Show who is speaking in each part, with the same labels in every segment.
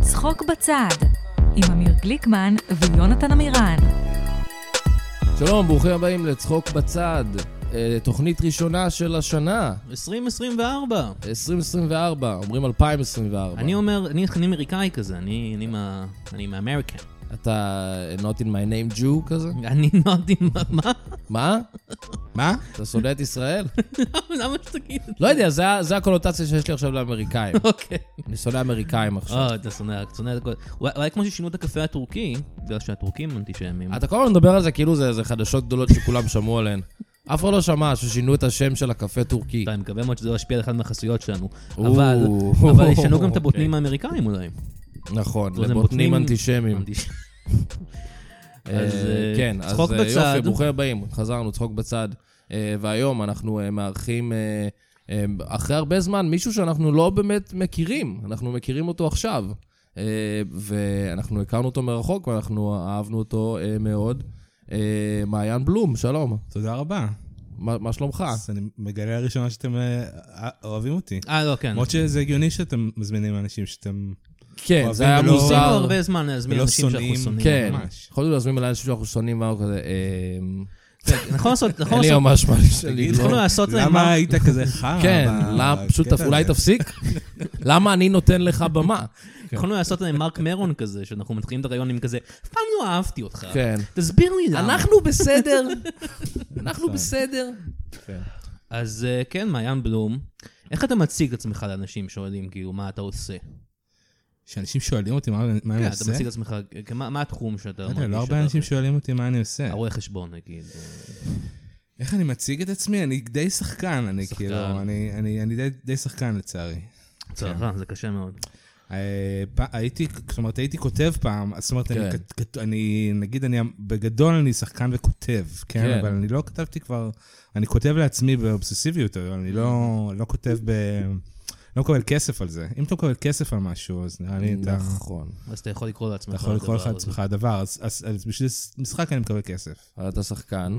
Speaker 1: צחוק בצד, עם אמיר גליקמן ויונתן עמירן.
Speaker 2: שלום, ברוכים הבאים לצחוק בצד. אה, תוכנית ראשונה של השנה,
Speaker 3: 2024.
Speaker 2: 2024, אומרים 2024.
Speaker 3: אני אומר, אני אני אמריקאי כזה, אני אני מה... אני מאמריקן.
Speaker 2: אתה אה, not in my name Jew כזה?
Speaker 3: אני לא יודע מה- מה...
Speaker 2: מה?
Speaker 4: מה?
Speaker 2: אתה שונא את ישראל?
Speaker 3: למה שתגיד?
Speaker 2: לא יודע, זה ה- זה הקונוטציה שיש לי עכשיו לאמריקאים.
Speaker 3: אוקיי.
Speaker 2: אני שונא אמריקאים עכשיו.
Speaker 3: אה, אתה שונא, אתה שונא את הכל. אולי- אולי כמו ששינו את הקפה הטורקי, בגלל שהטורקים אנטישמים.
Speaker 4: אה,
Speaker 2: אתה כל הזמן מדבר על זה כאילו זה זה חדשות גדולות שכולם שמעו עליהן. אף אחד לא שמע ששינו את השם של הקפה טורקי.
Speaker 3: אני מקווה מאוד שזה לא ישפיע על אחת מהחסויות שלנו.
Speaker 2: או,
Speaker 3: אבל אבל ישנו גם את הבוטנים האמריקאים אולי.
Speaker 2: נכון,
Speaker 3: זאת אומרת, הם
Speaker 2: לבוטנים
Speaker 3: בוטנים-
Speaker 2: אנטישמים.
Speaker 3: אנטיש-
Speaker 2: אה,
Speaker 3: אז, אה,
Speaker 2: כן, אז
Speaker 3: צחוק
Speaker 2: אה,
Speaker 3: בצד.
Speaker 2: יופי, ברוכים הבאים, חזרנו, צחוק בצד. אה, והיום אנחנו אה, מארחים, אה, אה, אחרי הרבה זמן, מישהו שאנחנו לא באמת מכירים, אנחנו מכירים אותו עכשיו. אה, ואנחנו הכרנו אותו מרחוק, ואנחנו אהבנו אותו אה, מאוד. אה, מעיין בלום, שלום,
Speaker 4: תודה רבה.
Speaker 2: מה מה שלומך?
Speaker 4: אה, אז אני מגלה לראשונה שאתם אה, אה, אוהבים אותי.
Speaker 3: אה, לא, כן.
Speaker 4: למרות שזה הגיוני שאתם מזמינים אנשים שאתם...
Speaker 2: כן,
Speaker 4: אוהבים
Speaker 2: זה היה
Speaker 4: ולא-
Speaker 3: עשינו
Speaker 2: מוזר.
Speaker 3: הרבה זמן להזמין
Speaker 4: לא ולא
Speaker 3: אנשים שאנחנו
Speaker 4: שונאים.
Speaker 3: שונאים.
Speaker 2: כן,
Speaker 4: ממש.
Speaker 2: יכולנו להזמין אליי אנשים שאנחנו שונאים, ואנחנו כזה, אה,
Speaker 3: נכון לעשות, נכון
Speaker 2: אין לי
Speaker 3: לעשות,
Speaker 2: ממש מה לא- לשאול.
Speaker 4: תגיד,
Speaker 3: יכולנו לעשות להם...
Speaker 4: לא. למה
Speaker 3: לא מה-
Speaker 4: היית כזה חרא?
Speaker 2: כן,
Speaker 4: ב-
Speaker 2: למה, פשוט
Speaker 4: בקטע
Speaker 2: אולי
Speaker 4: הזה?
Speaker 2: תפסיק? למה אני נותן לך במה?
Speaker 3: יכולנו נכון לעשות להם מרק מרון כזה, שאנחנו מתחילים את הרעיון עם כזה, אף פעם לא אהבתי אותך.
Speaker 2: כן.
Speaker 3: תסביר לי למה.
Speaker 2: אנחנו בסדר, אנחנו בסדר.
Speaker 3: אז אה, כן, מעיין בלום, איך אתה מציג את עצמך לאנשים שאוהדים, כאילו, מה אתה עושה?
Speaker 4: שאנשים שואלים אותי מה מה אני
Speaker 3: כן,
Speaker 4: עושה?
Speaker 3: אתה מציג את עצמך, אה, כמה- מה התחום שאתה
Speaker 4: לא יודע,
Speaker 3: מרגיש
Speaker 4: לא הרבה
Speaker 3: שאתה-
Speaker 4: אנשים כן. שואלים אותי מה אני עושה.
Speaker 3: הרואה חשבון, נגיד. אה,
Speaker 4: איך אני מציג את עצמי? אני די שחקן, אני
Speaker 3: שחקן.
Speaker 4: כאילו, אני- אני אני די- די שחקן לצערי.
Speaker 3: צערה, זה קשה מאוד.
Speaker 4: אה, פ- הייתי, זאת אומרת, הייתי כותב פעם, אז זאת אומרת, אני,
Speaker 2: כן.
Speaker 4: כת- כת- אני, נגיד, אני, בגדול אני שחקן וכותב, כן?
Speaker 2: כן.
Speaker 4: אבל אני לא כתבתי כבר, אני כותב לעצמי באובססיביות, אבל אני לא, לא כותב ב... לא מקבל כסף על זה. אם אתה מקבל כסף על משהו, אז נראה לי אתה...
Speaker 2: נכון.
Speaker 3: אז אתה יכול לקרוא לעצמך.
Speaker 4: אתה יכול לקרוא לך
Speaker 3: הדבר הזה.
Speaker 4: לעצמך הדבר, אז, אז, אז בשביל משחק אני מקבל כסף.
Speaker 2: אבל אתה שחקן,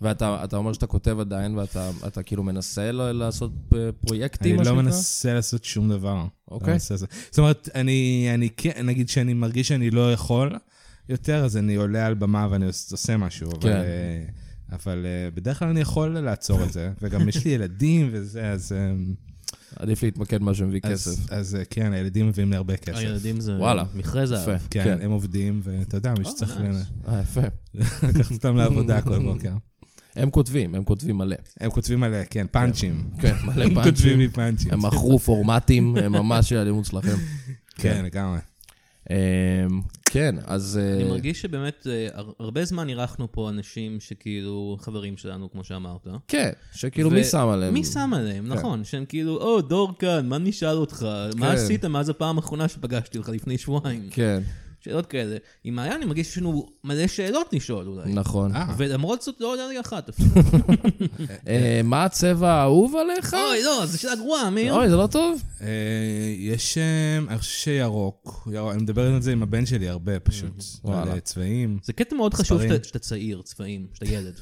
Speaker 2: ואתה אתה אומר שאתה כותב עדיין, ואתה אתה כאילו מנסה ל- לעשות אה, פרויקטים,
Speaker 4: אני
Speaker 2: מה
Speaker 4: לא
Speaker 2: שנקרא?
Speaker 4: מנסה לעשות שום דבר.
Speaker 2: אוקיי.
Speaker 4: לא מנסה לעשות- זאת אומרת, אני, אני כן, נגיד שאני מרגיש שאני לא יכול יותר, אז אני עולה על במה ואני עוש- עושה משהו, אבל,
Speaker 2: כן.
Speaker 4: אה, אבל אה, בדרך כלל אני יכול לעצור את זה, וגם יש לי ילדים וזה, אז... אה,
Speaker 2: עדיף להתמקד במה שמביא
Speaker 4: אז,
Speaker 2: כסף.
Speaker 4: אז אה, כן, הילדים מביאים לי הרבה כסף.
Speaker 3: הילדים אה, זה...
Speaker 2: וואלה.
Speaker 3: מכרה זהב.
Speaker 2: יפה,
Speaker 4: כן,
Speaker 2: כן.
Speaker 4: הם עובדים, ואתה יודע, מישהו צריך
Speaker 3: nice.
Speaker 2: אה, יפה.
Speaker 4: לקחת אותם לעבודה כל בוקר.
Speaker 2: הם כותבים, הם כותבים מלא.
Speaker 4: הם כותבים עליה, כן, פאנצ'ים.
Speaker 2: כן, מלא
Speaker 4: הם כותבים
Speaker 2: פאנצ'ים.
Speaker 4: לי פאנצ'ים.
Speaker 2: הם מכרו פורמטים, הם ממש של הלימוד שלכם.
Speaker 4: כן, לגמרי.
Speaker 2: אה, כן, אז... אה,
Speaker 3: אני מרגיש שבאמת, אה, הר- הרבה זמן אירחנו פה אנשים שכאילו, חברים שלנו, כמו שאמרת.
Speaker 2: כן,
Speaker 4: כאילו,
Speaker 2: שכאילו
Speaker 3: ו-
Speaker 2: מי שם עליהם?
Speaker 3: מי שם עליהם,
Speaker 4: כן.
Speaker 3: נכון. שהם כאילו, או, דור כאן, מה נשאל אותך? מה
Speaker 2: כן.
Speaker 3: עשית מאז הפעם האחרונה שפגשתי אותך לפני שבועיים?
Speaker 2: כן,
Speaker 3: שאלות כאלה. עם מעיין, אני מרגיש שיש לנו מלא שאלות לשאול אולי.
Speaker 2: נכון.
Speaker 4: אה,
Speaker 3: ולמרות זאת, לא עולה לי אחת אפילו.
Speaker 2: אה, מה הצבע האהוב עליך?
Speaker 3: אוי, לא, זו שאלה גרועה, אמיר.
Speaker 2: אוי, זה לא טוב?
Speaker 4: אה, יש, אה, אני חושב שירוק, ירוק, אני מדבר על זה עם הבן שלי הרבה פשוט, על
Speaker 2: וואלה.
Speaker 4: אה, צבעים.
Speaker 3: זה קטע מאוד חשוב
Speaker 4: ספרים.
Speaker 3: שאתה- שאתה צעיר, צבעים, שאתה ילד.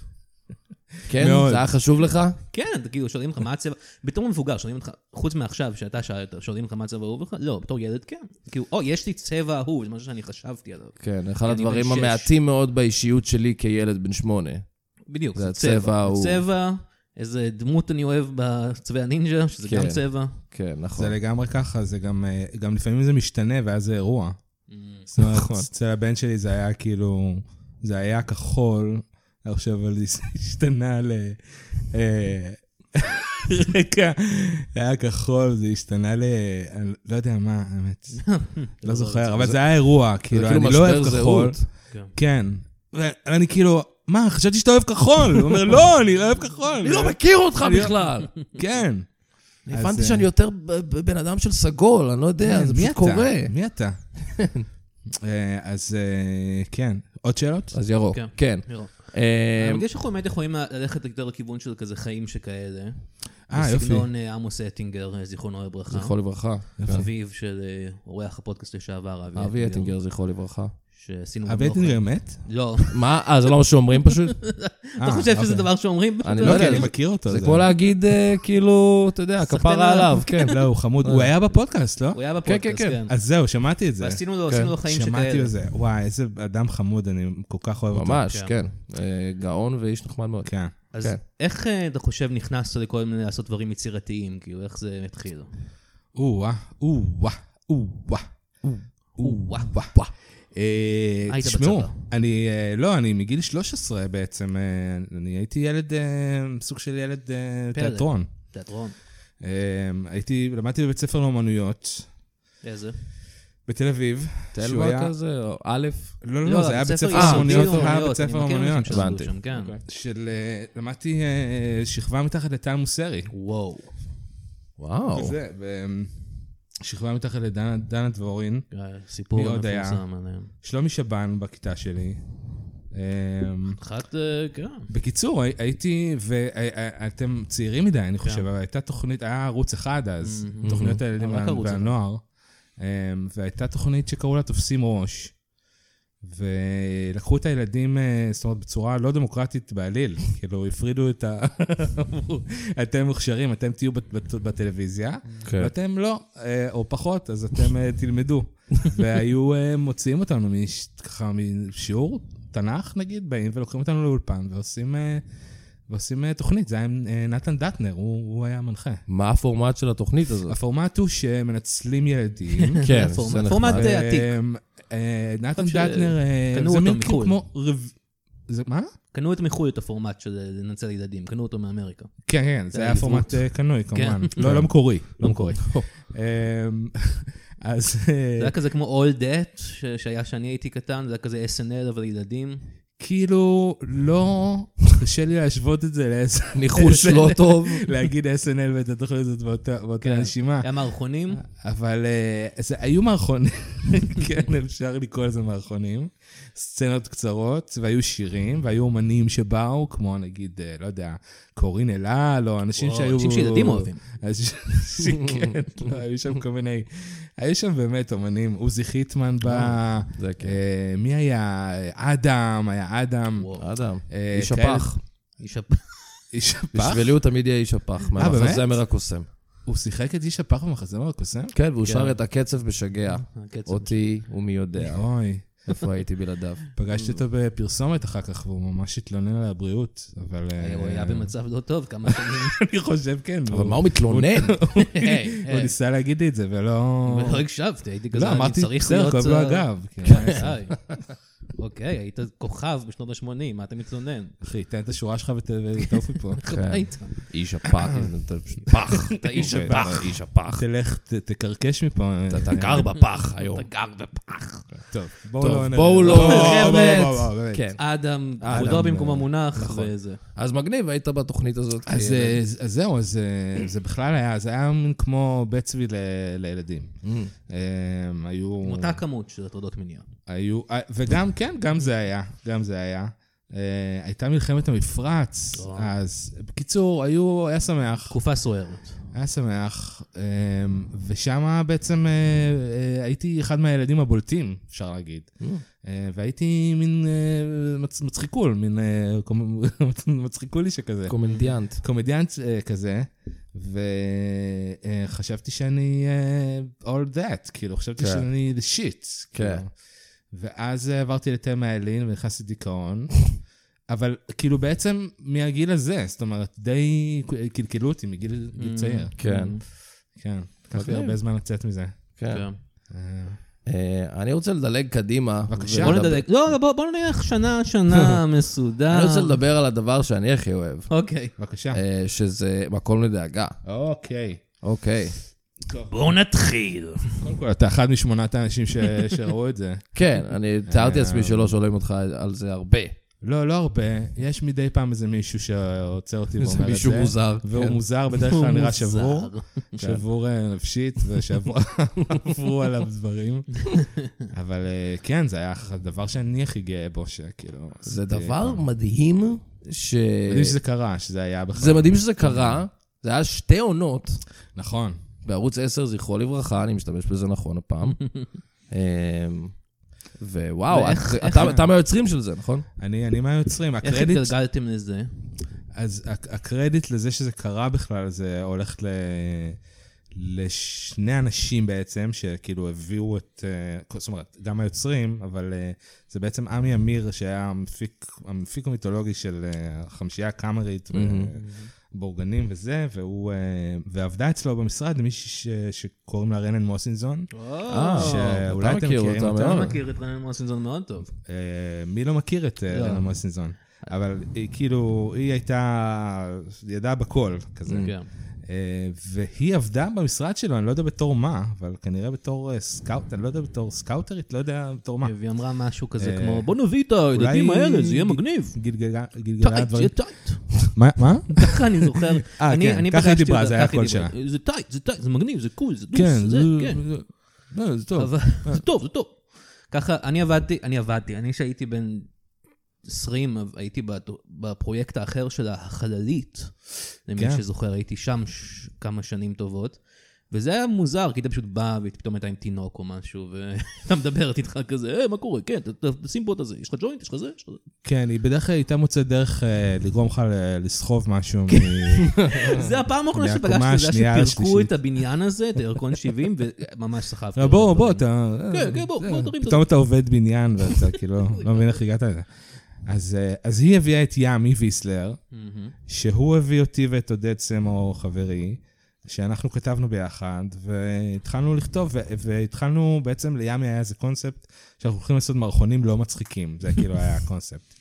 Speaker 2: כן?
Speaker 4: מאוד.
Speaker 2: זה היה חשוב לך?
Speaker 3: כן, אתה כאילו, שואלים אותך מה הצבע, בתור מבוגר, שואלים אותך, חוץ מעכשיו, שאתה שאלת, שואלים אותך מה הצבע האהוב לך? לא, בתור ילד כן. כאילו, או, יש לי צבע אהוב, זה משהו שאני חשבתי עליו.
Speaker 2: כן, אחד
Speaker 3: אני בן
Speaker 2: הדברים
Speaker 3: שש.
Speaker 2: המעטים מאוד באישיות שלי כילד בן שמונה.
Speaker 3: בדיוק,
Speaker 2: זה הצבע האהוב.
Speaker 3: צבע, איזה דמות אני אוהב בצבע הנינג'ה, שזה
Speaker 2: כן.
Speaker 3: גם צבע.
Speaker 2: כן, נכון.
Speaker 4: זה לגמרי ככה, זה גם, אה, גם לפעמים זה משתנה ואז זה אירוע. זאת אומרת, אצל הבן שלי זה היה כאילו, זה היה כחול, אני חושב, אבל זה השתנה ל... אה, רגע, היה כחול, זה השתנה ל... אני לא יודע מה, האמת. לא זוכר, אבל זה היה אירוע, כאילו, אני לא אוהב כחול. כן. ואני כאילו, מה, חשבתי שאתה אוהב כחול. הוא אומר, לא, אני לא אוהב כחול.
Speaker 2: אני לא מכיר אותך בכלל.
Speaker 4: כן.
Speaker 2: אני
Speaker 4: אז,
Speaker 2: הבנתי
Speaker 4: אה, כן,
Speaker 2: שאני יותר ב- ב- בן אדם של סגול, אני לא יודע, זה
Speaker 4: מי
Speaker 2: פשוט
Speaker 4: אתה?
Speaker 2: קורה.
Speaker 4: מי אתה? אה, אז אה, כן. עוד שאלות?
Speaker 2: אז ירוק,
Speaker 3: כן.
Speaker 2: כן.
Speaker 3: ירוק.
Speaker 2: אה,
Speaker 4: אמ,
Speaker 3: אני מרגיש שאנחנו באמת יכולים ללכת יותר לכיוון של כזה חיים שכאלה.
Speaker 4: אה, יופי.
Speaker 3: בסגנון אה, עמוס אטינגר, אה, זיכרונו לברכה.
Speaker 2: זכרו לברכה. כן.
Speaker 3: אביו של אה, אורח הפודקאסט לשעבר, אבי
Speaker 2: אבי אטינגר, זכרו לברכה.
Speaker 3: שעשינו... גם
Speaker 4: אבי
Speaker 3: לא
Speaker 4: אטינגר מת?
Speaker 3: חי- לא.
Speaker 2: מה? אה, זה לא מה שאומרים פשוט?
Speaker 3: אתה חושב שזה דבר שאומרים? אוקיי.
Speaker 2: אני
Speaker 4: אה, לא
Speaker 2: לא
Speaker 4: יודע,
Speaker 2: יודע,
Speaker 4: אוקיי. אני מכיר אותו.
Speaker 2: זה כמו להגיד, אה, כאילו, אתה יודע, כפרה
Speaker 3: עליו.
Speaker 2: עליו, כן.
Speaker 4: לא, הוא חמוד. הוא היה בפודקאסט, לא?
Speaker 3: הוא היה בפודקאסט,
Speaker 2: כן,
Speaker 3: כן.
Speaker 4: אז זהו, שמעתי את זה. כן.
Speaker 3: ועשינו לו עשינו לו חיים
Speaker 4: שמעתי
Speaker 3: שכאלה.
Speaker 4: את זה. וואי, איזה אדם חמוד, אני כל כך אוהב אותו.
Speaker 2: ממש,
Speaker 3: כן.
Speaker 2: כן. אה, גאון ואיש נחמד מאוד.
Speaker 4: כן.
Speaker 3: אז
Speaker 2: כן.
Speaker 3: איך אה, אתה חושב נכנסת לכל מיני לעשות דברים יצירתיים? כאילו, איך זה התחיל?
Speaker 4: או-אה, או-אה, או-אה.
Speaker 3: וואו.
Speaker 4: אה,
Speaker 3: היית
Speaker 4: תשמעו,
Speaker 3: בצבא.
Speaker 4: אני, אה, לא, אני מגיל 13 בעצם, אה, אני הייתי ילד, אה, סוג של ילד אה,
Speaker 3: פלא.
Speaker 4: תיאטרון.
Speaker 3: תיאטרון.
Speaker 4: אה, הייתי, למדתי בבית ספר לאומנויות
Speaker 3: איזה?
Speaker 4: בתל אביב. שהוא
Speaker 2: תלמה
Speaker 4: היה-
Speaker 2: כזה, או א',
Speaker 4: לא, לא, לא, זה היה בית ספר
Speaker 2: יסודי
Speaker 4: לאומנויות, זה היה בית
Speaker 3: אה, אני
Speaker 4: ספר
Speaker 3: מכיר אנשים
Speaker 4: לאומנויות.
Speaker 3: שלמדו
Speaker 2: הבנתי.
Speaker 3: שם, כן.
Speaker 4: של, אה, למדתי אה, שכבה מתחת לטל מוסרי.
Speaker 3: וואו.
Speaker 4: אוקיי.
Speaker 2: וואו.
Speaker 4: וזה, ו- שכבה מתחת לדנה דנה דבורין.
Speaker 3: אה, סיפור
Speaker 4: מי עוד היה?
Speaker 3: מפורסם עליהם.
Speaker 4: שלומי שבן בכיתה שלי. אה,
Speaker 3: אחת, אה, כן.
Speaker 4: בקיצור, הי- הייתי, ואתם צעירים מדי, אני
Speaker 3: כן.
Speaker 4: חושב, אבל הייתה תוכנית, היה ערוץ אחד אז, תוכניות הילדים
Speaker 3: Mm. Mm-hmm. רק
Speaker 4: וה-
Speaker 3: ערוץ אחד.
Speaker 4: והנוער, אמ, והייתה תוכנית שקראו לה תופסים ראש, ולקחו את הילדים, אה, זאת אומרת, בצורה לא דמוקרטית בעליל, כאילו, הפרידו את ה... אמרו, אתם מוכשרים, אתם תהיו בת- בת- בטלוויזיה,
Speaker 2: כן.
Speaker 4: ואתם לא, אה, או פחות, אז אתם אה, תלמדו. והיו אה, מוציאים אותנו מש- ככה משיעור תנ"ך, נגיד, באים ולוקחים אותנו לאולפן ועושים... אה, ועושים אה, תוכנית, זה היה עם אה, נתן דטנר, הוא הוא היה המנחה.
Speaker 2: מה הפורמט של התוכנית הזאת?
Speaker 4: הפורמט הוא שמנצלים ילדים.
Speaker 2: כן,
Speaker 3: הפורמט-
Speaker 2: זה נחמד.
Speaker 3: פורמט, אה, עתיק.
Speaker 4: אמ, אה, נתן
Speaker 3: ש-
Speaker 4: דטנר, אה,
Speaker 3: קנו
Speaker 4: זה
Speaker 3: אותו
Speaker 4: מין כאילו
Speaker 3: מחו"ל.
Speaker 4: כמו... רב- זה מה?
Speaker 3: קנו את מחו"ל את הפורמט של אה, לנצל ילדים, קנו אותו מאמריקה.
Speaker 4: כן, כן, זה היה
Speaker 3: העברית.
Speaker 4: פורמט אה, קנוי, כמובן. לא,
Speaker 2: כן.
Speaker 4: לא מקורי, לא
Speaker 2: מקורי.
Speaker 4: מקורי. אמ, אז... אה,
Speaker 3: זה היה כזה כמו All That, ש- שהיה כשאני הייתי קטן, זה היה כזה SNL אבל ילדים.
Speaker 4: כאילו, לא קשה לי להשוות את זה לאיזה...
Speaker 2: ניחוש לא טוב.
Speaker 4: להגיד SNL ואת התוכנית הזאת באותה- באותה
Speaker 3: כן.
Speaker 4: נשימה.
Speaker 3: היה מערכונים,
Speaker 4: אבל אה, זה, היו מערכונים, כן, אפשר לקרוא לזה מערכונים. סצנות קצרות, והיו שירים, והיו אומנים שבאו, כמו נגיד, אה, לא יודע, קורין אלעל, או אנשים
Speaker 3: וואו,
Speaker 4: שהיו...
Speaker 3: אנשים שילדים אוהבים.
Speaker 4: אז שכן, לא, היו שם כל מיני... היו שם באמת אומנים, עוזי חיטמן בא,
Speaker 2: זה כן.
Speaker 4: אה, מי היה? אה, אדם, היה אדם.
Speaker 3: וואו.
Speaker 2: אדם,
Speaker 4: אה,
Speaker 2: איש
Speaker 4: כאלה-
Speaker 2: הפח.
Speaker 3: איש הפ-
Speaker 4: איש הפח?
Speaker 2: בשבילי הוא תמיד יהיה איש הפח, מהמחזמר
Speaker 4: אה, באמת?
Speaker 2: הקוסם.
Speaker 4: הוא שיחק את איש הפח במחזמר הקוסם?
Speaker 2: כן, והוא
Speaker 3: כן.
Speaker 2: שר את הקצב
Speaker 4: אה,
Speaker 2: משגע.
Speaker 3: הקצב.
Speaker 2: אותי ומי יודע
Speaker 4: אוי.
Speaker 2: איפה הייתי בלעדיו.
Speaker 4: פגשתי אותו בפרסומת אחר כך, והוא ממש התלונן על הבריאות, אבל... אה,
Speaker 3: הוא היה במצב לא טוב כמה שנים,
Speaker 4: אני חושב, כן.
Speaker 2: אבל מה הוא מתלונן?
Speaker 3: היי,
Speaker 4: הוא
Speaker 3: היי.
Speaker 4: ניסה להגיד לי את זה, ולא...
Speaker 3: ולא הקשבתי, הייתי כזה,
Speaker 4: לא,
Speaker 3: אני
Speaker 4: אמרתי,
Speaker 3: צריך
Speaker 4: בסדר,
Speaker 3: להיות...
Speaker 4: כואב לו
Speaker 3: אה,
Speaker 4: הגב. כן,
Speaker 3: היי. אוקיי, היית כוכב בשנות ה-80, מה אתה מתלונן?
Speaker 4: אחי, תן את השורה שלך ותעוף מפה.
Speaker 3: לך הביתה.
Speaker 2: איש הפח,
Speaker 4: אה.
Speaker 2: אתה פשוט פח, כן, אתה איש הפח, איש הפח.
Speaker 4: תלך, ת- תקרקש מפה.
Speaker 2: אתה- אתה גר בפח היום. אתה גר בפח.
Speaker 4: טוב,
Speaker 2: טוב,
Speaker 4: נ-
Speaker 2: בואו לא-
Speaker 4: בואו,
Speaker 2: באמת.
Speaker 4: בואו, בואו, באמת.
Speaker 2: כן.
Speaker 3: אדם, כבודו
Speaker 4: אה,
Speaker 3: במקום המונח,
Speaker 4: נכון.
Speaker 3: וזה.
Speaker 2: אז מגניב, היית בתוכנית הזאת.
Speaker 4: אז
Speaker 2: כילד.
Speaker 4: אה, אז זהו, אז אה, זה בכלל היה, זה היה מין כמו בית צבי ל- לילדים. אה, היו...
Speaker 3: עם אותה כמות של הטרדות מיניות.
Speaker 4: היו, אה, וגם, כן, גם זה היה, גם זה היה. אה, הייתה מלחמת המפרץ,
Speaker 3: וואו.
Speaker 4: אז בקיצור, היו, היה שמח,
Speaker 3: תקופה סוערת.
Speaker 4: היה שמח, אה, ושם בעצם אה, אה, הייתי אחד מהילדים הבולטים, אפשר להגיד. אה, והייתי מין אה, מצ- מצחיקול, מין אה, קומ- מצחיקולי שכזה.
Speaker 2: קומדיאנט.
Speaker 4: קומדיאנט אה, כזה, וחשבתי שאני אה, all that, כאילו, חשבתי
Speaker 2: כן.
Speaker 4: שאני the shit.
Speaker 2: כן.
Speaker 4: כאילו. ואז אה, עברתי לתמה אלין ונכנסתי לדיכאון, אבל כאילו בעצם מהגיל הזה, זאת אומרת, די קלקלו אותי מגיל גיל צעיר.
Speaker 2: כן. אוקיי.
Speaker 4: כן, לקח לי
Speaker 2: מגניב.
Speaker 4: הרבה זמן לצאת מזה.
Speaker 2: כן.
Speaker 3: כן.
Speaker 4: אה,
Speaker 2: אה, אני רוצה לדלג קדימה.
Speaker 4: בבקשה.
Speaker 3: בוא
Speaker 2: ולדבר-
Speaker 3: נדלג. לא, לא, בוא- בוא נלך שנה, שנה, מסודר.
Speaker 2: אני
Speaker 4: אה.
Speaker 2: רוצה לדבר על הדבר שאני הכי אוהב,
Speaker 3: אוקיי.
Speaker 4: בבקשה.
Speaker 2: אה, שזה מקום לדאגה.
Speaker 4: אוקיי.
Speaker 2: אוקיי.
Speaker 3: בואו נתחיל.
Speaker 4: קודם כל, אתה אחד משמונת האנשים ש- שראו את זה.
Speaker 2: כן, אני
Speaker 4: אה.
Speaker 2: תיארתי לעצמי שלא שואלים אותך על זה הרבה.
Speaker 4: לא, לא הרבה. יש מדי פעם איזה מישהו שעוצר אותי ואומר את זה.
Speaker 2: איזה מישהו מוזר.
Speaker 4: והוא
Speaker 2: כן.
Speaker 4: מוזר, בדרך כלל נראה שבור.
Speaker 3: מוזר.
Speaker 4: שבור אה, נפשית, ושעברו עליו דברים. אבל אה, כן, זה היה הדבר שאני הכי גאה בו, שכאילו...
Speaker 2: זה
Speaker 4: עשיתי
Speaker 2: דבר
Speaker 4: פעם.
Speaker 2: מדהים ש...
Speaker 4: מדהים שזה קרה, שזה היה בכלל.
Speaker 2: זה מדהים שזה קרה, זה היה שתי עונות
Speaker 4: נכון.
Speaker 2: בערוץ 10, זכרו לברכה, אני משתמש בזה נכון הפעם. אמ, ווואו,
Speaker 3: ואיך-
Speaker 2: את-
Speaker 3: איך-
Speaker 2: אתה- אתה מהיוצרים של זה, נכון?
Speaker 4: אני, אני מהיוצרים,
Speaker 3: איך
Speaker 4: הקרדיט,
Speaker 3: התגלגלתם לזה?
Speaker 4: אז הק- הקרדיט לזה שזה קרה בכלל, זה הולך ל... לשני אנשים בעצם, שכאילו הביאו את, אה, זאת אומרת, גם היוצרים, אבל אה, זה בעצם עמי אמיר, שהיה המפיק, המפיק המיתולוגי של אה, החמישייה הקאמרית, ובורגנים וזה, והוא, אה, ועבדה אצלו במשרד מישהי ש- שקוראים לה רנן מוסינזון. אה, שאולי
Speaker 2: אה, אתה
Speaker 4: אתם
Speaker 2: מכיר
Speaker 4: מכירים
Speaker 2: אותה
Speaker 4: אותה.
Speaker 2: מאוד.
Speaker 3: אתה מכיר את רנן מוסינזון מאוד טוב.
Speaker 4: אה, מי לא מכיר את אה,
Speaker 3: לא.
Speaker 4: רנה מוסינזון? אבל היא כאילו, היא הייתה, ידעה בכל, כזה.
Speaker 3: כן.
Speaker 4: אה, והיא עבדה במשרד שלו, אני לא יודע בתור מה, אבל כנראה בתור אה, סקאוט, אני לא יודע בתור סקאוטרית, לא יודע בתור מה.
Speaker 3: והיא אמרה משהו כזה
Speaker 4: אה,
Speaker 3: כמו, בוא נביא את הילדים האלה, זה יהיה מגניב.
Speaker 4: גלגלה גלגלה
Speaker 3: טייט, זה
Speaker 4: דברים.
Speaker 3: יהיה טייט.
Speaker 4: מה? מה?
Speaker 3: ככה אני זוכר.
Speaker 4: אה,
Speaker 3: אני-
Speaker 4: כן,
Speaker 3: אני
Speaker 4: ככה היא
Speaker 3: פגשתי
Speaker 4: דיברה,
Speaker 3: אותה,
Speaker 4: זה היה
Speaker 3: ככה היא
Speaker 4: הקול
Speaker 3: דיברה. זה טייט, זה טייט, זה מגניב, זה קול, זה דוס,
Speaker 4: כן,
Speaker 3: זה,
Speaker 4: זה-
Speaker 3: כן.
Speaker 4: זה- לא, זה טוב.
Speaker 3: אבל זה טוב, זה טוב. ככה, אני עבדתי, אני עבדתי, אני שהייתי בן 20, הייתי בת- בפרויקט האחר של החללית. למי
Speaker 4: כן.
Speaker 3: שזוכר, הייתי שם ש- כמה שנים טובות. וזה היה מוזר, כי אתה פשוט בא ופתאום הייתה עם תינוק או משהו, ואתה מדברת איתך כזה, אה, מה קורה? כן, ת- ת- תשים פה את הזה, יש לך ג'וינט, יש לך זה, יש לך זה.
Speaker 4: כן, היא בדרך כלל הייתה מוצאת דרך אה, לגרום לך ל- לסחוב משהו. מ-
Speaker 3: זה הפעם האחרונה
Speaker 4: כן. מהקומה
Speaker 3: שפגשתי, זה
Speaker 4: השנייה
Speaker 3: היה שפירקו
Speaker 4: לשלישית.
Speaker 3: את הבניין הזה, את הירקון 70, וממש סחבתי.
Speaker 4: לא, בוא, בוא, אתה...
Speaker 3: כן, כן, בוא,
Speaker 4: זה,
Speaker 3: בוא, תרים,
Speaker 4: פתאום אתה עובד בניין ואתה כאילו, לא מבין איך הגעת לזה. אז, אה, אז היא הביאה את ימי ויסלר,
Speaker 3: מהמם.
Speaker 4: שהוא הביא אותי ואת עודד סמו, חברי, שאנחנו כתבנו ביחד, והתחלנו לכתוב, ו- והתחלנו, בעצם לימי היה איזה קונספט, שאנחנו הולכים לעשות מערכונים לא מצחיקים, זה כאילו היה הקונספט.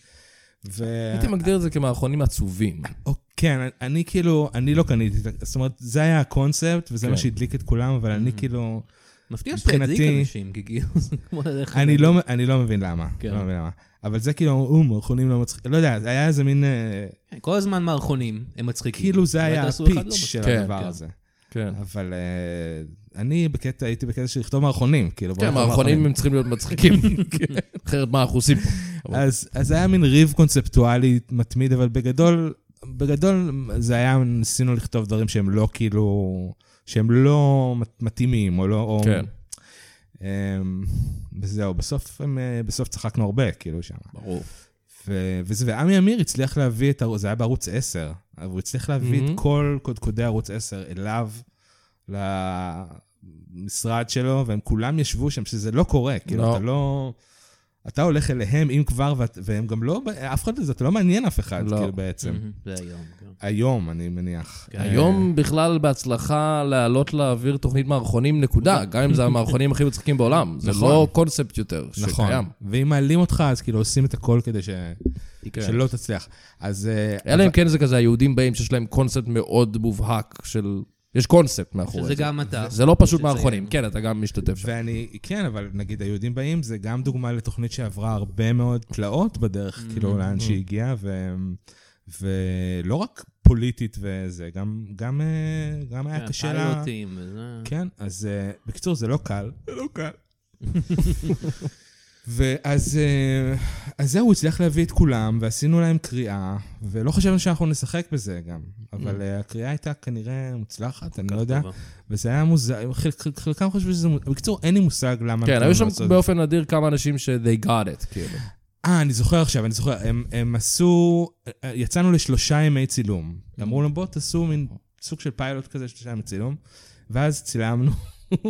Speaker 4: ו-
Speaker 2: הייתי מגדיר את זה כמערכונים עצובים.
Speaker 4: או- כן, אני- אני כאילו, אני לא קניתי, את ה- זאת אומרת, זה היה הקונספט, וזה
Speaker 2: כן.
Speaker 4: מה שהדליק את כולם, אבל אני
Speaker 3: Mm-hmm.
Speaker 4: כאילו...
Speaker 3: מפתיע שאתה ידליק
Speaker 4: מבחינתי-
Speaker 3: אנשים, כי כאילו, זה כמו ללכת...
Speaker 4: אני לא, אני לא מבין למה.
Speaker 3: כן.
Speaker 4: לא מבין למה. אבל זה כאילו, הוא, מערכונים לא מצחיקים. לא יודע, זה היה איזה מין, אה,
Speaker 3: "כן, כל הזמן מערכונים, הם מצחיקים.
Speaker 4: כאילו זה
Speaker 3: אולי
Speaker 4: היה
Speaker 3: תעשו אחד לא
Speaker 4: הפיץ'
Speaker 3: מצחיק.
Speaker 4: של
Speaker 2: כן,
Speaker 4: הדבר
Speaker 3: כן.
Speaker 4: הזה.
Speaker 2: כן.
Speaker 4: אבל אה, אני בקטע, הייתי בקטע של לכתוב מערכונים, כאילו. בוא
Speaker 2: כן,
Speaker 4: נכתוב
Speaker 2: מערכונים הם צריכים להיות מצחיקים. כן. אחרת מה אנחנו עושים פה?
Speaker 4: אז אז היה מין ריב קונספטואלי מתמיד, אבל בגדול, בגדול זה היה, ניסינו לכתוב דברים שהם לא כאילו, שהם לא מת- מתאימים, או לא... או-
Speaker 2: כן.
Speaker 4: אמ, וזהו, בסוף הם, אה, בסוף צחקנו הרבה, כאילו, שם.
Speaker 2: ברור.
Speaker 4: ו- וזה, ועמי אמיר הצליח להביא את, הר- זה היה בערוץ 10, אבל הוא הצליח להביא
Speaker 2: מהמם.
Speaker 4: את כל קודקודי ערוץ 10 אליו, למשרד שלו, והם כולם ישבו שם, שזה לא קורה, כאילו,
Speaker 2: לא.
Speaker 4: אתה לא... אתה הולך אליהם, אם כבר, ואת- והם גם לא, אף אחד לזה, אתה לא מעניין אף אחד,
Speaker 2: לא.
Speaker 4: כאילו, בעצם.
Speaker 3: מהמם, זה היום, כן.
Speaker 4: היום, אני מניח.
Speaker 3: כן.
Speaker 2: היום בכלל בהצלחה לעלות לאוויר תוכנית מערכונים, נקודה. גם אם זה המערכונים הכי מצחיקים בעולם. זה
Speaker 4: נכון.
Speaker 2: לא קונספט יותר
Speaker 4: נכון.
Speaker 2: שקיים.
Speaker 4: ואם מעלים אותך, אז כאילו עושים את הכל כדי ש...
Speaker 2: כן.
Speaker 4: שלא תצליח. אז... אה,
Speaker 2: אלא אם כן זה כזה, היהודים באים שיש להם קונספט מאוד מובהק של... יש קונספט מאחורי זה.
Speaker 3: שזה גם אתה.
Speaker 2: זה לא פשוט
Speaker 3: יש
Speaker 2: מערכונים.
Speaker 3: לציין.
Speaker 2: כן, אתה גם משתתף שם.
Speaker 4: ואני, כן, אבל נגיד היהודים באים, זה גם דוגמה לתוכנית שעברה הרבה מאוד תלאות בדרך, כאילו, לאן שהיא הגיעה, ו... ולא רק פוליטית וזה, גם, גם, אה, גם היה
Speaker 3: כן,
Speaker 4: קשה לה...
Speaker 3: פיילוטים וזה.
Speaker 4: כן, אז אה, בקיצור, זה לא קל. זה לא קל. ואז אה, אז זהו, הוא הצליח להביא את כולם, ועשינו להם קריאה, ולא חשבנו שאנחנו נשחק בזה גם, אבל אה, הקריאה הייתה כנראה מוצלחת, אני לא יודע.
Speaker 3: טובה.
Speaker 4: וזה היה מוזר, חל- חל- חלקם חשבו שזה מוזר, בקיצור, אין לי מושג למה...
Speaker 2: כן,
Speaker 4: הם
Speaker 2: היו
Speaker 4: לעשות
Speaker 2: שם
Speaker 4: את זה.
Speaker 2: באופן נדיר כמה אנשים ש-they got it, כאילו.
Speaker 4: אה, אני זוכר עכשיו, אני זוכר, הם, הם עשו, יצאנו לשלושה ימי צילום.
Speaker 2: Mm.
Speaker 4: אמרו לנו, בואו תעשו מין סוג של פיילוט כזה, שלושה ימי צילום. ואז צילמנו,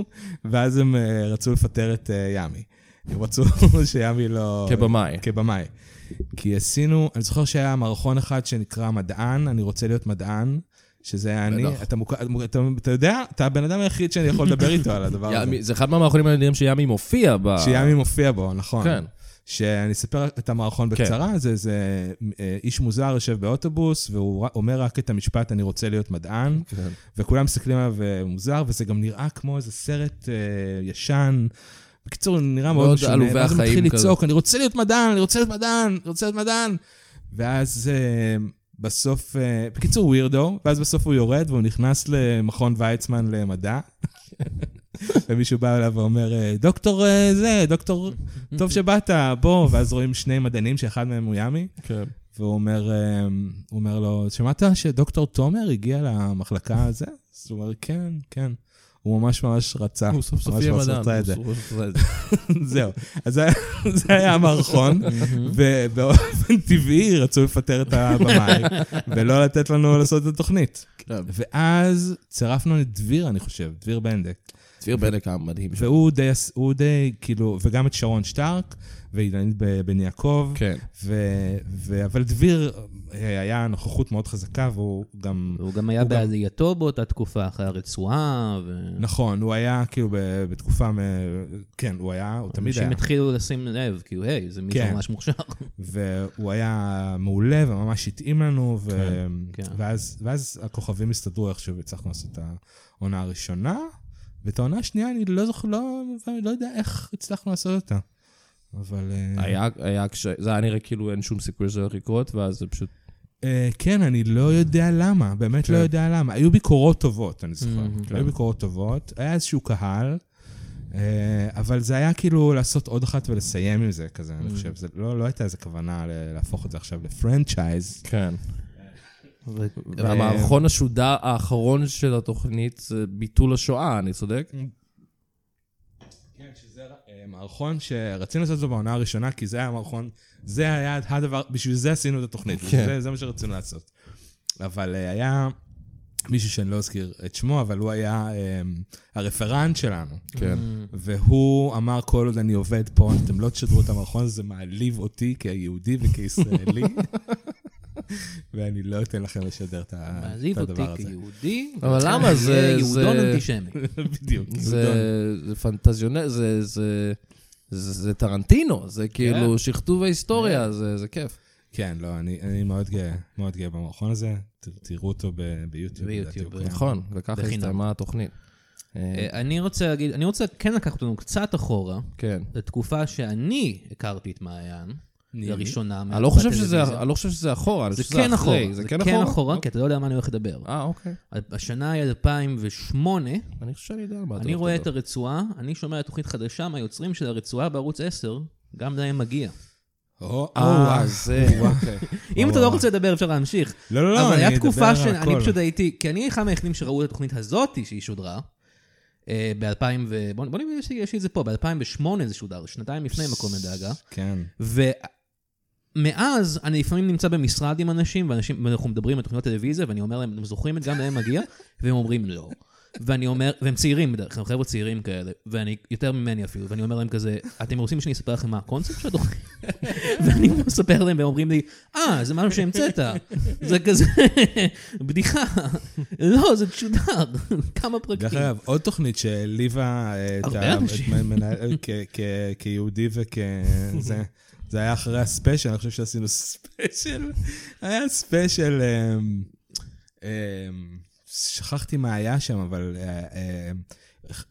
Speaker 4: ואז הם אה, רצו לפטר את אה, ימי. הם רצו שימי לא...
Speaker 2: כבמאי.
Speaker 4: כבמאי. כי עשינו, אני זוכר שהיה מערכון אחד שנקרא מדען, אני רוצה להיות מדען, שזה היה אני.
Speaker 2: בטח.
Speaker 4: אתה, מוכר, אתה, אתה יודע, אתה הבן אדם היחיד שאני יכול לדבר איתו על הדבר הזה.
Speaker 2: יעמי- זה אחד מהמערכונים הנדירים שימי מופיע ב...
Speaker 4: כן. שימי מופיע בו, נכון.
Speaker 2: כן.
Speaker 4: שאני אספר את המערכון
Speaker 2: כן.
Speaker 4: בקצרה, זה, זה אה, איש מוזר יושב באוטובוס, והוא ר- אומר רק את המשפט, אני רוצה להיות מדען,
Speaker 2: כן.
Speaker 4: וכולם מסתכלים עליו אה, מוזר, וזה גם נראה כמו איזה סרט אה, ישן. בקיצור, נראה מאוד
Speaker 2: מאוד
Speaker 4: משונה.
Speaker 2: עלובי
Speaker 4: ואז הוא מתחיל
Speaker 2: החיים כזה.
Speaker 4: לצעוק, אני רוצה להיות מדען, אני רוצה להיות מדען, אני רוצה להיות מדען. ואז אה, בסוף, אה, בקיצור, הוא ווירדו, ואז בסוף הוא יורד והוא נכנס למכון ויצמן למדע. ומישהו בא אליו ואומר, אה, דוקטור אה, זה, דוקטור, טוב שבאת, בוא, ואז רואים שני מדענים שאחד מהם הוא ימי,
Speaker 2: כן.
Speaker 4: והוא אומר, אה, הוא אומר לו, שמעת שדוקטור תומר הגיע למחלקה הזה? אז הוא אומר, כן, כן. הוא ממש ממש רצה.
Speaker 2: הוא סוף סוף
Speaker 4: אה, ממש
Speaker 2: יהיה
Speaker 4: ממש
Speaker 2: מדען.
Speaker 4: רצה את זה.
Speaker 2: הוא סוף סוף רצה את זה.
Speaker 4: זהו. אז זה היה- זה היה המערכון, ובאופן טבעי רצו לפטר את הבמאי, ולא לתת לנו לעשות את התוכנית.
Speaker 2: כן.
Speaker 4: ואז צירפנו את דביר, אני חושב, דביר בנדק.
Speaker 2: דביר בדק המדהים שלו.
Speaker 4: והוא די, עש- הוא די, כאילו, וגם את שרון שטארק, ואילנית ב- בן יעקב.
Speaker 2: כן.
Speaker 4: ו- ו- אבל דביר אה, היה נוכחות מאוד חזקה, והוא גם...
Speaker 3: והוא גם היה
Speaker 4: הוא גם-
Speaker 3: בעלייתו באותה תקופה, אחרי הרצועה, ו...
Speaker 4: נכון, הוא היה כאילו ב- בתקופה, מ- כן, הוא היה, הוא תמיד היה.
Speaker 3: אנשים התחילו לשים לב, כאילו, היי, זה מישהו
Speaker 4: כן.
Speaker 3: ממש מוכשר.
Speaker 4: והוא היה מעולה וממש התאים לנו, ו...
Speaker 3: כן.
Speaker 4: ואז, ואז הכוכבים הסתדרו איכשהו והצלחנו לעשות את העונה הראשונה, ואת העונה השנייה אני לא זוכר, לא, לא יודע איך הצלחנו לעשות אותה. אבל... אה,
Speaker 2: היה, היה כש... זה היה נראה כאילו אין שום סיכוי שזה הולך לקרות, ואז זה פשוט...
Speaker 4: אה, כן, אני לא יודע למה, באמת לא
Speaker 2: כן. Mm-hmm,
Speaker 4: יודע למה. היו ביקורות טובות, אני זוכר.
Speaker 3: Mhm.
Speaker 4: היו ביקורות טובות, היה איזשהו קהל, אה, אבל זה היה כאילו לעשות עוד אחת ולסיים עם זה כזה,
Speaker 2: Mm.
Speaker 4: אני חושב. זה לא לא הייתה איזו כוונה ל- להפוך את זה עכשיו לפרנצ'ייז.
Speaker 2: כן.
Speaker 3: ו-
Speaker 2: והמערכון השודר האחרון של התוכנית זה ביטול השואה, אני צודק?
Speaker 4: כן, שזה אה, מערכון שרצינו לעשות אותו בעונה הראשונה, כי זה היה מערכון, זה היה הדבר, בשביל זה עשינו את התוכנית,
Speaker 2: כן.
Speaker 4: זה, זה מה שרצינו לעשות. אבל אה, היה מישהו שאני לא אזכיר את שמו, אבל הוא היה אה, הרפרנט שלנו.
Speaker 2: כן.
Speaker 3: Mm,
Speaker 4: והוא אמר, כל עוד אני עובד פה, אתם לא תשדרו את המערכון, זה מעליב אותי כיהודי וכישראלי, ואני לא אתן לכם לשדר את ה- את
Speaker 3: מעליב אותי
Speaker 4: הדבר הזה.
Speaker 3: כיהודי.
Speaker 2: אבל למה? זה-
Speaker 3: יהודון
Speaker 2: זה-
Speaker 3: אנטישמי.
Speaker 4: בדיוק.
Speaker 2: זה,
Speaker 4: יהודון.
Speaker 2: זה פנטזיונר, זה, זה, זה, זה טרנטינו, זה
Speaker 3: כן.
Speaker 2: כאילו שכתוב ההיסטוריה, זה, זה כיף.
Speaker 4: כן, לא, אני, אני מאוד גאה, מאוד גאה במערכון הזה. ת, תראו אותו ב,
Speaker 3: ביוטיוב,
Speaker 4: ביוטיוב.
Speaker 3: אה,
Speaker 4: לדעתי הוא קיים.
Speaker 2: נכון, וככה
Speaker 3: בחינם.
Speaker 2: הסתיימה התוכנית. אה,
Speaker 3: אה, אני רוצה להגיד, אני רוצה כן לקחת אותנו קצת אחורה,
Speaker 2: כן.
Speaker 3: לתקופה שאני הכרתי את מעיין, לראשונה.
Speaker 2: אני לא חושב שזה-
Speaker 3: מהטלוויזיה.
Speaker 2: אני לא חושב שזה אחורה, אני
Speaker 3: אה, זה
Speaker 2: חושב שזה
Speaker 3: כן
Speaker 2: אחרי.
Speaker 3: אחורה, זה כן אחורה,
Speaker 2: אוקיי.
Speaker 3: כי אתה לא יודע על מה אני הולך לדבר.
Speaker 2: אה, אוקיי.
Speaker 3: השנה היא 2008,
Speaker 2: אני חושב שאני יודע על מה אתה
Speaker 3: אני
Speaker 2: הולך
Speaker 3: רואה את
Speaker 2: לדבר.
Speaker 3: הרצועה, אני שומע תוכנית חדשה מהיוצרים של הרצועה בערוץ 10, גם להם מגיע.
Speaker 4: או,
Speaker 2: אה,
Speaker 4: אה,
Speaker 2: זה, אוקיי.
Speaker 3: אם אתה
Speaker 4: וואו.
Speaker 3: לא רוצה לדבר, אפשר להמשיך.
Speaker 4: לא, לא, לא,
Speaker 3: אבל
Speaker 4: אני
Speaker 3: היה
Speaker 4: אדבר
Speaker 3: תקופה
Speaker 4: על
Speaker 3: שאני
Speaker 4: הכל.
Speaker 3: פשוט הייתי, כי אני אחד מהיחידים שראו את התוכנית הזאתי שהיא שודרה, ב-2000 ו... בוא בוא נראה, יש לי- יש לי את זה פה, ב-2008 זה שודר, שנתיים לפני מקום לדאגה.
Speaker 4: כן.
Speaker 3: ומאז אני לפעמים נמצא במשרד עם אנשים, ואנשים, ואנחנו מדברים על תוכניות טלוויזיה, ואני אומר להם, אתם זוכרים את גם להם מגיע? והם אומרים לא. ואני אומר, והם צעירים בדרך כלל, חבר'ה צעירים כאלה, ואני, יותר ממני אפילו, ואני אומר להם כזה, אתם רוצים שאני אספר לכם מה הקונספט של התוכנית? ואני מספר להם, והם אומרים לי, אה, זה משהו שהמצאת. זה כזה, בדיחה. לא, זה שודר, כמה פרקים.
Speaker 4: דרך אגב, עוד תוכנית שהעליבה אה, את
Speaker 3: הרבה
Speaker 4: ה- את
Speaker 3: אנשים.
Speaker 4: מ- מנהל- כ- כ- כיהודי וכ... זה- זה היה אחרי הספיישל, אני חושב שעשינו ספיישל. היה ספיישל... אמ, אמ, שכחתי מה היה שם, אבל אה, אה,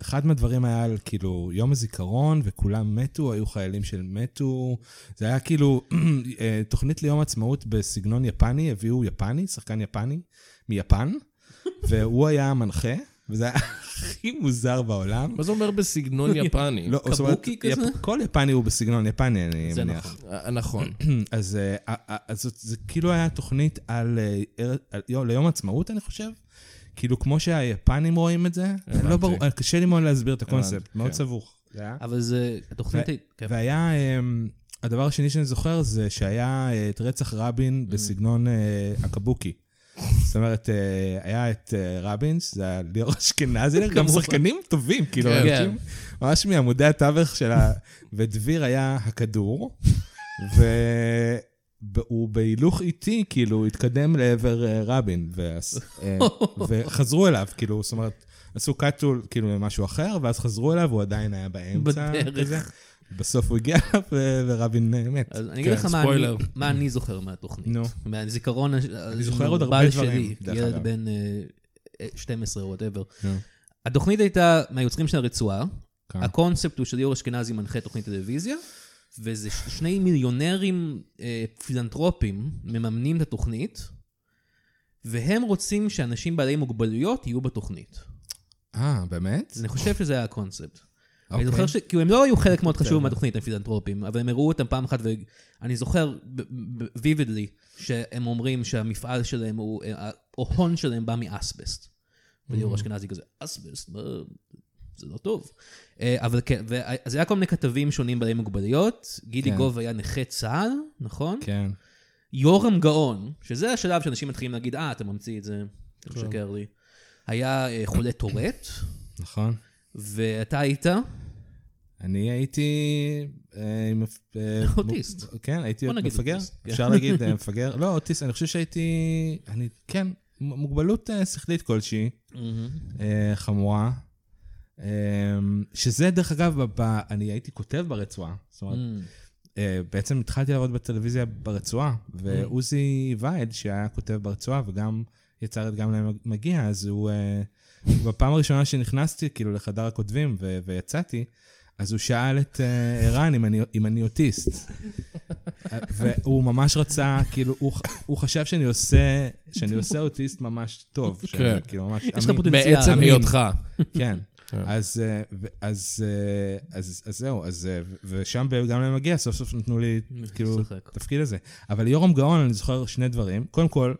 Speaker 4: אחד מהדברים היה על כאילו יום הזיכרון, וכולם מתו, היו חיילים שמתו. זה היה כאילו אה, תוכנית ליום העצמאות בסגנון יפני, הביאו יפני, שחקן יפני מיפן, והוא היה המנחה, וזה היה הכי מוזר בעולם.
Speaker 2: מה זה אומר בסגנון יפני?
Speaker 4: לא, זאת אומרת,
Speaker 3: קבוקי כזה?
Speaker 4: יפ- כל יפני הוא בסגנון יפני, אני
Speaker 3: זה
Speaker 4: מניח.
Speaker 3: נכון.
Speaker 2: אה, נכון.
Speaker 4: אז, אה, אה, אה, אז זאת- זה כאילו היה תוכנית על, אה, אר- על יום- ליום העצמאות, אני חושב. כאילו, כמו שהיפנים רואים את זה, לא ברור, אה, קשה לי מאוד להסביר את הקונספט, מאוד
Speaker 2: כן.
Speaker 4: סבוך. זה היה-
Speaker 3: אבל זה, התוכנית... היא- כן.
Speaker 4: והיה, אה, הדבר השני שאני זוכר זה שהיה אה, את רצח רבין בסגנון אה, הקבוקי. זאת אומרת, אה, היה את אה, רבין, שזה היה ליאור אשכנזי, גם
Speaker 3: כמובן.
Speaker 4: שחקנים טובים, כאילו,
Speaker 2: כן.
Speaker 4: אנשים ממש מעמודי התווך של ה... ודביר היה הכדור, והוא בהילוך איטי, כאילו, התקדם לעבר אה, רבין, ואז- אה, וחזרו אליו, כאילו, זאת אומרת, עשו קאטול, כאילו, למשהו אחר, ואז חזרו אליו, הוא עדיין היה באמצע.
Speaker 3: בדרך.
Speaker 4: כזה. בסוף הוא הגיע אליו, ו- ורבין אה, מת.
Speaker 3: אז אני אגיד
Speaker 2: כן,
Speaker 3: לך מה אני-
Speaker 2: ספוילר.
Speaker 3: מה אני זוכר מהתוכנית.
Speaker 4: נו.
Speaker 3: מהזיכרון אני
Speaker 4: זוכר עוד הרבה דברים, דרך
Speaker 3: ילד
Speaker 4: אגב.
Speaker 3: בן אה, 12 או וואטאבר.
Speaker 4: נו.
Speaker 3: התוכנית הייתה מהיוצרים של הרצועה,
Speaker 4: כן.
Speaker 3: הקונספט הוא שליאור אשכנזי מנחה תוכנית טלוויזיה, וזה ש- שני מיליונרים אה, פילנטרופים מממנים את התוכנית, והם רוצים שאנשים בעלי מוגבלויות יהיו בתוכנית.
Speaker 4: אה, באמת? אוקיי.
Speaker 3: אני חושב שזה היה הקונספט. אני זוכר ש... כאילו, הם לא היו חלק מאוד חשוב מהתוכנית, הם פילנטרופים, אבל הם הראו אותם פעם אחת, ואני זוכר vividly שהם אומרים שהמפעל שלהם הוא, אה, ההון שלהם בא מאסבסט.
Speaker 4: Mm.
Speaker 3: וליאור אשכנזי כזה, אסבסט, מה- זה לא טוב. אה, אבל כן, וה- אז היה כל מיני כתבים שונים בעלי מוגבלויות, גידי
Speaker 4: כן.
Speaker 3: גוב היה נכה צה"ל, נכון?
Speaker 4: כן.
Speaker 3: יורם גאון, שזה השלב שאנשים מתחילים להגיד, אה, אתה ממציא את זה, אתה
Speaker 4: כן.
Speaker 3: משקר לי. היה אה, חולה טורט,
Speaker 4: נכון.
Speaker 3: ואתה היית,
Speaker 4: אני הייתי... אה, עם- אה,
Speaker 3: אוטיסט.
Speaker 4: מ- כן, הייתי
Speaker 3: בוא נגיד
Speaker 4: מפגר.
Speaker 3: אוטיסט, כן.
Speaker 4: אפשר להגיד אה, מפגר? לא, אוטיסט, אני חושב שהייתי... אני, כן, מ- מוגבלות אה, שכלית כלשהי, אה, חמורה. אה, שזה, דרך אגב, ב- ב- אני הייתי כותב ברצועה. זאת אומרת, אה, בעצם התחלתי לעבוד בטלוויזיה ברצועה, ועוזי וייד, שהיה כותב ברצועה וגם יצר את גם להם מגיע, אז הוא... אה, בפעם הראשונה שנכנסתי כאילו לחדר הכותבים ו- ויצאתי, אז הוא שאל את אה, ערן אם אני- אם אני אוטיסט. אה, והוא ממש רצה, כאילו, הוא, ח- הוא חשב שאני עושה, שאני עושה אוטיסט ממש טוב. שאני,
Speaker 2: כן.
Speaker 4: כאילו, ממש
Speaker 3: יש לך
Speaker 4: אמין.
Speaker 3: פוטנציאל.
Speaker 2: בעצם
Speaker 4: אמין.
Speaker 2: היותך.
Speaker 4: כן. אז, אה, ו- אז, אה, אז, אז זהו, אז, אה, ו- ושם גם להם מגיע, סוף סוף נתנו לי, כאילו,
Speaker 3: לשחק.
Speaker 4: תפקיד הזה. אבל יורם גאון, אני זוכר שני דברים. קודם כל,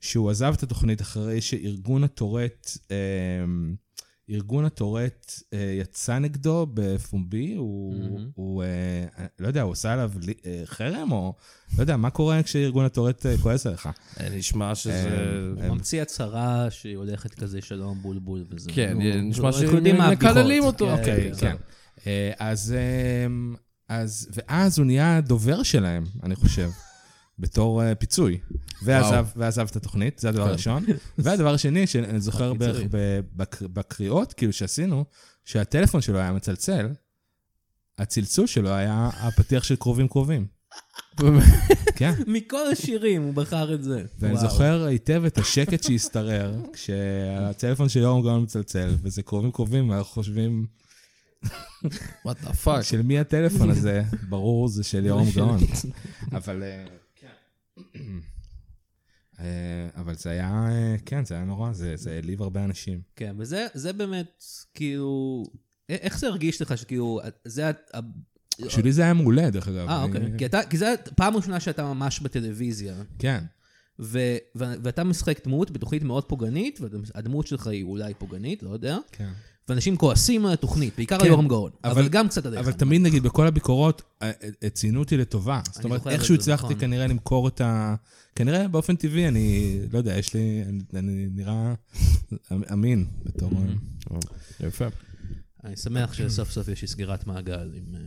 Speaker 4: שהוא עזב את התוכנית אחרי שארגון הטורט, אה, ארגון הטורט אה, יצא נגדו בפומבי, הוא,
Speaker 3: מהמם.
Speaker 4: הוא אה, לא יודע, הוא עושה עליו לי- אה, חרם, או לא יודע, מה קורה כשארגון הטורט אה, כועס עליך?
Speaker 2: אה, נשמע שזה...
Speaker 4: אה,
Speaker 3: הוא ממציא הצהרה שהיא הולכת כזה שלום בולבול וזה.
Speaker 2: כן,
Speaker 3: נו,
Speaker 2: נשמע
Speaker 3: אנחנו יודעים מה הבדיחות.
Speaker 2: שמקללים אותו.
Speaker 3: כן,
Speaker 4: אוקיי,
Speaker 3: כן.
Speaker 4: כן. אה, אז, אמ, אז, ואז הוא נהיה הדובר שלהם, אני חושב, בתור אה, פיצוי. ועזב, ועזב את התוכנית, זה הדבר
Speaker 2: כן.
Speaker 4: הראשון. והדבר השני, שאני זוכר
Speaker 3: הפיצוי.
Speaker 4: בערך ב- בק- בקריאות, כאילו, שעשינו, שהטלפון שלו היה מצלצל, הצלצול שלו היה הפתיח של קרובים קרובים. כן.
Speaker 3: מכל השירים הוא בחר את זה.
Speaker 4: ואני
Speaker 3: וואו.
Speaker 4: זוכר היטב את השקט שהשתרר כשהטלפון של יורם גאון מצלצל, וזה קרובים קרובים, ואנחנו חושבים,
Speaker 2: וואט דה פאק.
Speaker 4: של מי הטלפון הזה? ברור, זה של יורם גאון. אבל... אה, אה, אבל זה היה, אה, כן, זה היה נורא, זה זה העליב הרבה אנשים.
Speaker 3: כן, וזה זה באמת, כאילו... א- איך זה הרגיש לך שכאילו, זה... ה- ה-
Speaker 4: בשבילי זה היה מעולה, דרך אגב.
Speaker 3: אה,
Speaker 4: אני-
Speaker 3: אוקיי. כי אתה- כי זה פעם ראשונה שאתה ממש בטלוויזיה.
Speaker 4: כן,
Speaker 3: ו- ו- ואתה משחק דמות בתוכנית מאוד פוגענית, והדמות שלך היא אולי פוגענית, לא יודע,
Speaker 4: כן.
Speaker 3: ואנשים כועסים על התוכנית, בעיקר על
Speaker 4: כן,
Speaker 3: יורם גאון,
Speaker 4: אבל-
Speaker 3: אבל גם קצת עליך.
Speaker 4: אבל תמיד, נגיד, בכל הביקורות, אה, אה, ציינו אותי לטובה. זאת אומרת,
Speaker 3: זוכר את
Speaker 4: איכשהו
Speaker 3: זה,
Speaker 4: הצלחתי
Speaker 3: נכון.
Speaker 4: כנראה למכור את ה... כנראה באופן טבעי, אני לא יודע, יש לי, אני- אני נראה אמין בתור...
Speaker 2: יפה.
Speaker 3: אני שמח שסוף סוף יש לי סגירת מעגל, אם אה,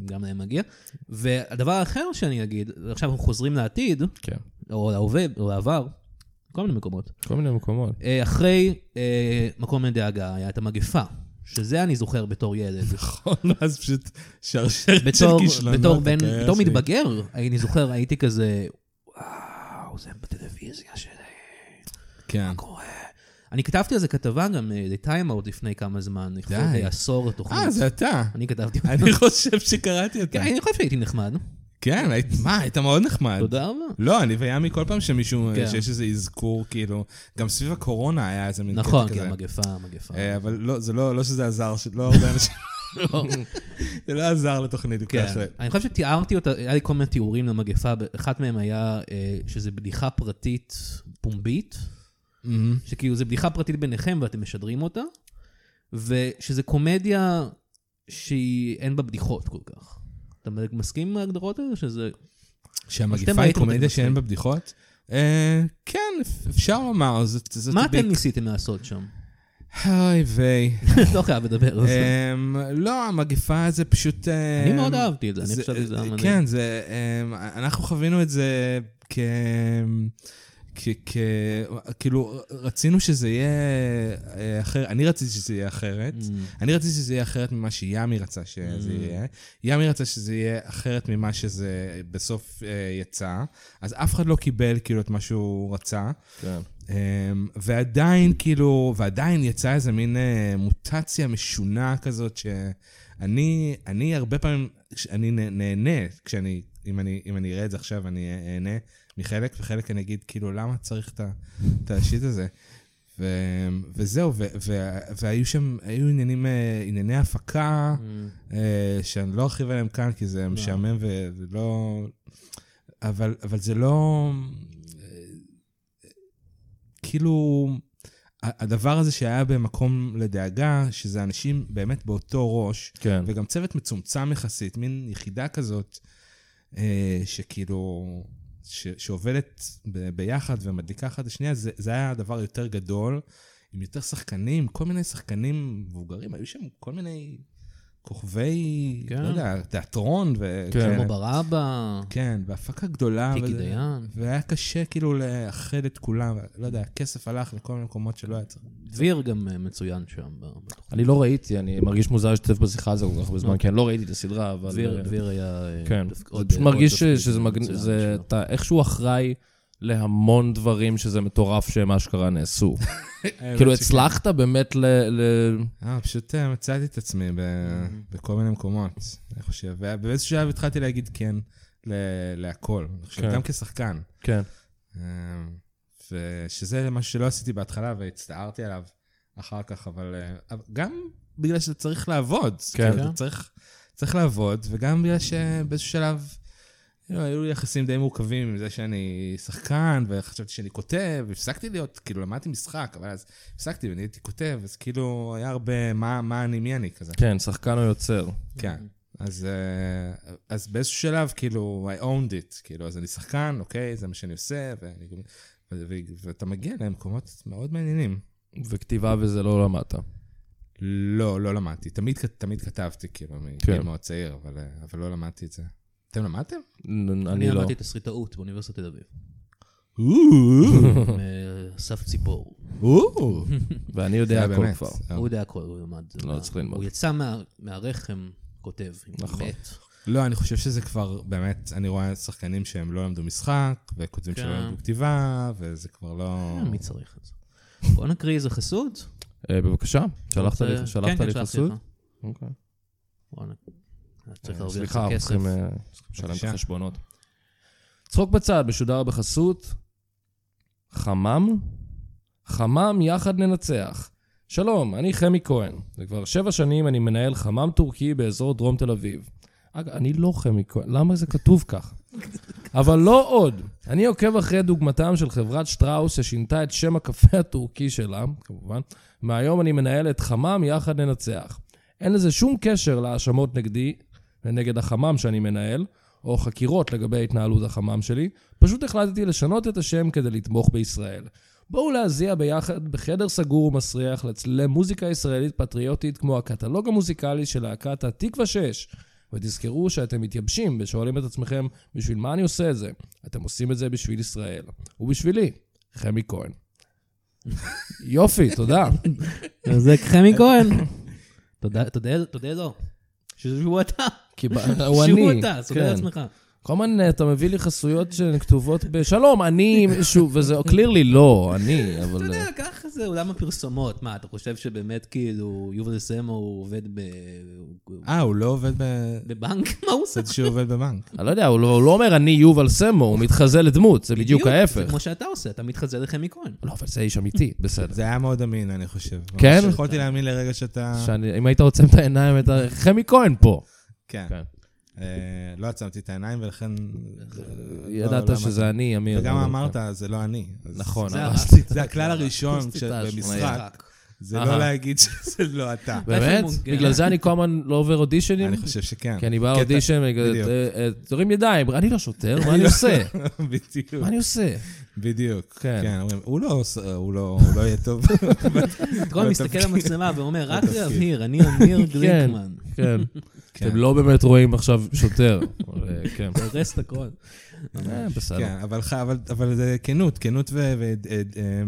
Speaker 3: אם גם להם מגיע. והדבר האחר שאני אגיד, עכשיו אנחנו חוזרים לעתיד,
Speaker 2: כן.
Speaker 3: או להווה, או לעבר, כל מיני מקומות.
Speaker 2: כל מיני מקומות.
Speaker 3: אה, אחרי אה, מקום לדאגה היה את המגפה, שזה אני זוכר בתור ילד.
Speaker 4: נכון, ואז פשוט שרשרת של
Speaker 3: בתור,
Speaker 4: כישלונות.
Speaker 3: בתור, בן,
Speaker 4: הקריירה
Speaker 3: בתור
Speaker 4: שלי.
Speaker 3: מתבגר, אני זוכר, הייתי כזה, וואו, זה בטלוויזיה שלי,
Speaker 4: כן.
Speaker 3: מה קורה? אני כתבתי על זה כתבה גם אה, ל-Time Out לפני כמה זמן, לכבוד
Speaker 4: די.
Speaker 3: אה, עשור לתוכנית.
Speaker 4: אה, זה אתה.
Speaker 3: אני כתבתי אותה.
Speaker 4: אני חושב שקראתי אותה.
Speaker 3: כן, אני חושב שהייתי נחמד.
Speaker 4: כן, היית- מה, היית מאוד נחמד.
Speaker 3: תודה רבה.
Speaker 4: לא, אני וימי כל פעם שמישהו,
Speaker 3: כן.
Speaker 4: שיש איזה אזכור, כאילו, גם סביב הקורונה היה איזה מין
Speaker 3: נכון,
Speaker 4: קטע
Speaker 3: כי
Speaker 4: כזה.
Speaker 3: המגפה, המגפה.
Speaker 4: אה, אבל לא, זה לא, לא שזה עזר, ש- לא הרבה אנשים... זה לא עזר לתוכנית, הוא
Speaker 3: כן.
Speaker 4: ככה.
Speaker 3: אני חושב שתיארתי אותה, היה לי כל מיני תיאורים למגפה, אחת מהם היה אה, שזה בדיחה פרטית פומבית,
Speaker 4: מהמם.
Speaker 3: שכאילו זו בדיחה פרטית ביניכם ואתם משדרים אותה, ושזו קומדיה שהיא אין בה בדיחות כל כך. אתה מסכים עם ההגדרות האלה? שזה... שאתם
Speaker 4: שהמגפה היא
Speaker 3: ראיתם
Speaker 4: קומדיה
Speaker 3: אותי
Speaker 4: שאין
Speaker 3: מצחיק.
Speaker 4: בה בדיחות? אה, כן, אפ- אפשר לומר, זה זה
Speaker 3: מה
Speaker 4: טוביק.
Speaker 3: אתם ניסיתם לעשות שם?
Speaker 4: היי ויי.
Speaker 3: לא חייב לדבר על זה.
Speaker 4: אמ, לא, המגפה זה פשוט... אה,
Speaker 3: אני מאוד אהבתי את זה, אני חשבתי שזה היה מדהים.
Speaker 4: כן, זה... אמ, אנחנו חווינו את זה כ... כ... כ... כאילו, רצינו שזה יהיה אה, אחר... אני רציתי שזה יהיה אחרת.
Speaker 3: Mm.
Speaker 4: אני רציתי שזה יהיה אחרת ממה שיאמי רצה שזה יהיה. יאמי רצה שזה יהיה אחרת ממה שזה בסוף אה, יצא. אז אף אחד לא קיבל כאילו את מה שהוא רצה.
Speaker 2: כן.
Speaker 4: אמ, ועדיין, כאילו, ועדיין יצאה איזה מין אה, מוטציה משונה כזאת, שאני אני הרבה פעמים, כש- אני נה- נהנה, כשאני, אם אני, אם אני אראה את זה עכשיו, אני אה, אהנה מחלק, וחלק אני אגיד, כאילו, למה צריך את ה- את השיט הזה? ו, וזהו, ו, ו, והיו שם, היו עניינים, אה, ענייני הפקה, אה, שאני לא ארחיב עליהם כאן, כי זה משעמם ו- ולא... אבל, אבל זה לא... אה, כאילו, ה- הדבר הזה שהיה במקום לדאגה, שזה אנשים באמת באותו ראש,
Speaker 2: כן.
Speaker 4: וגם צוות מצומצם יחסית, מין יחידה כזאת, אה, שכאילו, ש, שעובדת ב, ביחד ומדליקה אחת את השנייה, זה, זה היה הדבר היותר גדול, עם יותר שחקנים, כל מיני שחקנים מבוגרים, היו שם כל מיני כוכבי,
Speaker 3: כן.
Speaker 4: לא יודע, תיאטרון ו...
Speaker 2: כן.
Speaker 4: כאלה.
Speaker 3: כמו ברבא,
Speaker 4: כן, והפקה גדולה.
Speaker 3: טיקי
Speaker 4: וזה-
Speaker 3: דיין.
Speaker 4: והיה קשה כאילו לאחד את כולם, לא יודע, הכסף הלך לכל מיני מקומות שלא היה צריך.
Speaker 3: דביר גם אה, מצוין שם. ב- בתוכנית.
Speaker 2: אני לא ראיתי, אני מרגיש מוזר להשתתף בשיחה הזו כל כך הרבה זמן, כי אני לא ראיתי את הסדרה, אבל...
Speaker 3: דביר, דביר היה... אה,
Speaker 2: כן.
Speaker 3: דווקא
Speaker 2: זה
Speaker 3: עוד-
Speaker 2: פשוט
Speaker 3: עוד
Speaker 2: מרגיש ש-
Speaker 3: תפקיד
Speaker 2: שזה מגניב,
Speaker 3: מצוין
Speaker 2: זה...
Speaker 3: שלו.
Speaker 2: אתה איכשהו אחראי להמון דברים שזה מטורף שהם אשכרה נעשו.
Speaker 3: כן.
Speaker 2: כאילו, הצלחת באמת ל... ל-
Speaker 4: אה, פשוט אה, מצאתי את עצמי ב- בכל מיני מקומות, אני חושב. ובאיזשהו שלב התחלתי להגיד כן ל- להכל, אני חושב,
Speaker 2: כן.
Speaker 4: גם כשחקן.
Speaker 2: כן.
Speaker 4: אה, ושזה משהו שלא עשיתי בהתחלה והצטערתי עליו אחר כך, אבל אה, אבל גם בגלל שאתה צריך לעבוד.
Speaker 2: כן.
Speaker 4: כאילו, אתה צריך, צריך לעבוד, וגם בגלל שבאיזשהו שלב... you know, היו לי יחסים די מורכבים עם זה שאני שחקן, וחשבתי שאני כותב, הפסקתי להיות, כאילו, למדתי משחק, אבל אז הפסקתי ונהייתי כותב, אז כאילו, היה הרבה מה, מה אני, מי אני כזה.
Speaker 2: כן, שחקן או יוצר.
Speaker 4: כן. אז, אה, אז באיזשהו שלב, כאילו, I owned it, כאילו, אז אני שחקן, אוקיי, זה מה שאני עושה, ואני, גם- ו- ו- ואתה מגיע למקומות מאוד מעניינים.
Speaker 2: וכתיבה וזה לא למדת.
Speaker 4: לא, לא למדתי. תמיד, כ- תמיד כתבתי, כאילו, מגיל
Speaker 2: כן.
Speaker 4: מאוד צעיר, אבל, אה, אבל לא למדתי את זה. אתם למדתם?
Speaker 2: נ-
Speaker 3: אני
Speaker 2: אני לא.
Speaker 3: למדתי תסריטאות באוניברסיטת תל אביב. עם, אה, אסף ציפור.
Speaker 4: או,
Speaker 2: ואני
Speaker 4: זה
Speaker 2: יודע
Speaker 4: היה
Speaker 2: הכל
Speaker 4: באמת.
Speaker 2: כבר.
Speaker 4: אה.
Speaker 3: הוא יודע הכל, הוא למד.
Speaker 2: לא צריך ללמוד.
Speaker 3: הוא יצא מה- מהרחם, כותב.
Speaker 2: נכון.
Speaker 3: מת.
Speaker 4: לא, אני חושב שזה כבר, באמת, אני רואה שחקנים שהם לא למדו משחק, וכותבים שלא
Speaker 3: כן.
Speaker 4: למדו כתיבה, וזה כבר לא...
Speaker 3: אה, מי צריך את זה? בוא נקריא איזה חסות.
Speaker 2: אה, בבקשה, שלחת
Speaker 3: אה,
Speaker 2: לי-
Speaker 3: כן,
Speaker 2: שלחת
Speaker 3: כן,
Speaker 2: לי
Speaker 3: שלחתי
Speaker 2: חסות?
Speaker 3: לך.
Speaker 2: אוקיי.
Speaker 3: בוא נ- אתה צריך להרוויח
Speaker 2: סליחה,
Speaker 3: את
Speaker 2: אנחנו
Speaker 3: הכסף.
Speaker 2: צריכים אה, צריכים לשלם את
Speaker 4: בבקשה.
Speaker 2: החשבונות. צחוק בצד, משודר בחסות. חמם? חמם יחד ננצח. שלום, אני חמי כהן, וכבר שבע שנים אני מנהל חמם טורקי באזור דרום תל אביב. אגב, אני לא חמי כהן, למה זה כתוב כך? אבל לא עוד. אני עוקב אחרי דוגמתם של חברת שטראוס, ששינתה את שם הקפה הטורקי שלה, כמובן. מהיום אני מנהל את חמם יחד ננצח. אין לזה שום קשר להאשמות נגדי ונגד החמם שאני מנהל, או חקירות לגבי התנהלות החמם שלי, פשוט החלטתי לשנות את השם כדי לתמוך בישראל. בואו להזיע ביחד בחדר סגור ומסריח לצ- למוזיקה ישראלית פטריוטית כמו הקטלוג המוזיקלי של להקת התקווה 6. ותזכרו שאתם מתייבשים ושואלים את עצמכם, בשביל מה אני עושה את זה? אתם עושים את זה בשביל ישראל. ובשבילי, חמי כהן. יופי, תודה.
Speaker 3: אז זה חמי כהן. תודה- תודה- תודה לו. שהוא אתה.
Speaker 2: כי ב- הוא אני.
Speaker 3: שהוא אתה, סוגר
Speaker 2: כן.
Speaker 3: לעצמך.
Speaker 2: כל הזמן אה, אתה מביא לי חסויות שכתובות בשלום, אני מישהו, וזה clearly לא, אני,
Speaker 3: אתה
Speaker 2: אבל... אה,
Speaker 3: יודע, ככה זה עולם הפרסומות. מה, אתה חושב שבאמת כאילו יובל סמו הוא עובד ב-
Speaker 4: אה, הוא לא עובד ב...
Speaker 3: בבנק? מה הוא עושה?
Speaker 4: חשבתי שהוא עובד בבנק.
Speaker 2: אני לא יודע, הוא לא הוא לא אומר אני יובל סמו, הוא מתחזה לדמות, זה בדיוק
Speaker 3: זה
Speaker 2: ההפך.
Speaker 3: כמו שאתה עושה, אתה מתחזה לחמי כהן.
Speaker 2: לא, אבל זה איש אמיתי, בסדר.
Speaker 4: זה היה מאוד אמין, אני חושב.
Speaker 2: כן?
Speaker 4: ממש יכולתי להאמין לרגע שאתה...
Speaker 2: שאני- אם היית עוצם את העיניים, היית חמי כהן פה.
Speaker 4: כן.
Speaker 2: כן.
Speaker 4: אה, לא עצמתי את העיניים, ולכן...
Speaker 2: ידעת
Speaker 4: לא, לא
Speaker 2: שזה אני, אמיר.
Speaker 4: וגם
Speaker 2: אבל- כן.
Speaker 4: אמרת, זה לא אני. אז
Speaker 2: נכון,
Speaker 4: זה-
Speaker 2: הרסתי את
Speaker 4: זה הכלל הראשון
Speaker 2: הרסתי את
Speaker 4: כש-
Speaker 2: ההשמנה.
Speaker 4: במשחק, זה
Speaker 2: אהה.
Speaker 4: לא להגיד שזה לא אתה.
Speaker 2: באמת?
Speaker 3: איפה הוא-
Speaker 2: בגלל זה אני כל הזמן לא עובר אודישנים?
Speaker 4: אני חושב שכן.
Speaker 2: כי אני בא
Speaker 4: קטע-
Speaker 2: לאודישן,
Speaker 4: בדיוק.
Speaker 2: תורים ידיים, אני לא שוטר, מה אני עושה?
Speaker 4: בדיוק,
Speaker 2: מה אני עושה?
Speaker 4: בדיוק.
Speaker 2: כן.
Speaker 4: כן, אומרים, הוא לא עושה- הוא לא הוא לא יהיה טוב.
Speaker 3: אתה כל הזמן מסתכל על המצלמה ואומר, רק להבהיר, אני אמיר גליקמן.
Speaker 2: כן.
Speaker 4: כן.
Speaker 2: אתם לא באמת רואים עכשיו שוטר. אבל, אה, כן.
Speaker 3: הרס את הכל.
Speaker 2: אה, בסדר.
Speaker 4: כן, אבל ח- אבל- אבל זה כנות, כנות ו... ו- אה, אה,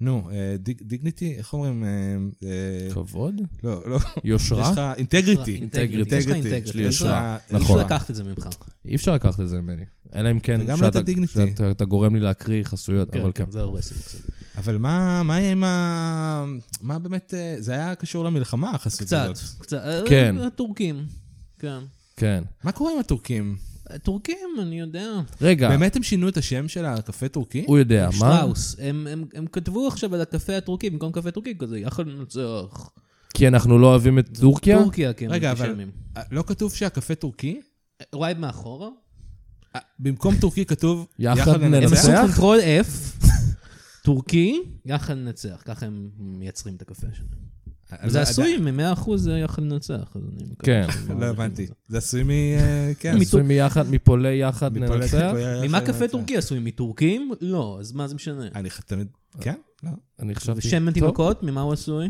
Speaker 4: נו, אה, דיג- דיגניטי, איך אומרים? אה, אה,
Speaker 2: כבוד?
Speaker 4: לא, לא. יש
Speaker 2: יושרה?
Speaker 4: לך אינטגריטי.
Speaker 3: אינטגריטי. יש לך אינטגריטי.
Speaker 4: יש לי יושרה.
Speaker 3: אי אפשר
Speaker 2: נכון.
Speaker 3: לקחת את זה ממך.
Speaker 2: אי אפשר לקחת את זה ממני. אלא אם כן,
Speaker 4: וגם לא את
Speaker 2: שאתה
Speaker 4: הדיגניטי.
Speaker 2: שאתה- אתה גורם לי להקריא חסויות, אבל כן.
Speaker 3: זה הורס לי קצת.
Speaker 4: אבל מה, מה היה עם ה... מה באמת, אה, זה היה קשור למלחמה, החסות
Speaker 3: קצת,
Speaker 4: הזאת.
Speaker 3: קצת. אה,
Speaker 2: כן.
Speaker 3: הטורקים. כן.
Speaker 2: כן.
Speaker 4: מה קורה עם הטורקים?
Speaker 3: טורקים, אני יודע.
Speaker 2: רגע,
Speaker 4: באמת הם שינו את השם של הקפה טורקי?
Speaker 2: הוא יודע, מה?
Speaker 3: שטראוס. הם- הם הם כתבו עכשיו על הקפה הטורקי, במקום קפה טורקי, כזה יחד ננצח.
Speaker 2: כי אנחנו לא אוהבים את טורקיה?
Speaker 3: טורקיה, כן,
Speaker 4: רגע, אבל-
Speaker 3: אנטישמים.
Speaker 4: אה, לא כתוב שהקפה טורקי?
Speaker 3: וואי, מאחורה?
Speaker 4: אה, במקום טורקי כתוב
Speaker 2: יחד
Speaker 3: הם
Speaker 2: ננצח.
Speaker 3: עשו קונטרול F, טורקי, יחד ננצח. ככה הם מייצרים את הקפה שלהם.
Speaker 4: אה,
Speaker 3: זה
Speaker 4: לא-
Speaker 3: עשוי מ-100% זה יחד ננצח. אז אני מקווה
Speaker 2: כן.
Speaker 3: שזה
Speaker 4: לא הבנתי. זה עשוי מ... אה, כן.
Speaker 2: עשוי מיחד, מפולי יחד
Speaker 4: מפולט-
Speaker 2: ננצח?
Speaker 4: מפולט-
Speaker 3: ממה קפה
Speaker 4: ננצח. אה,
Speaker 3: טורקי עשוי? מטורקים? לא, אז מה זה משנה?
Speaker 4: אני תמיד... כן? לא.
Speaker 2: אני חשבתי...
Speaker 3: ושמן
Speaker 2: טוב,
Speaker 3: תינוקות, ממה הוא עשוי?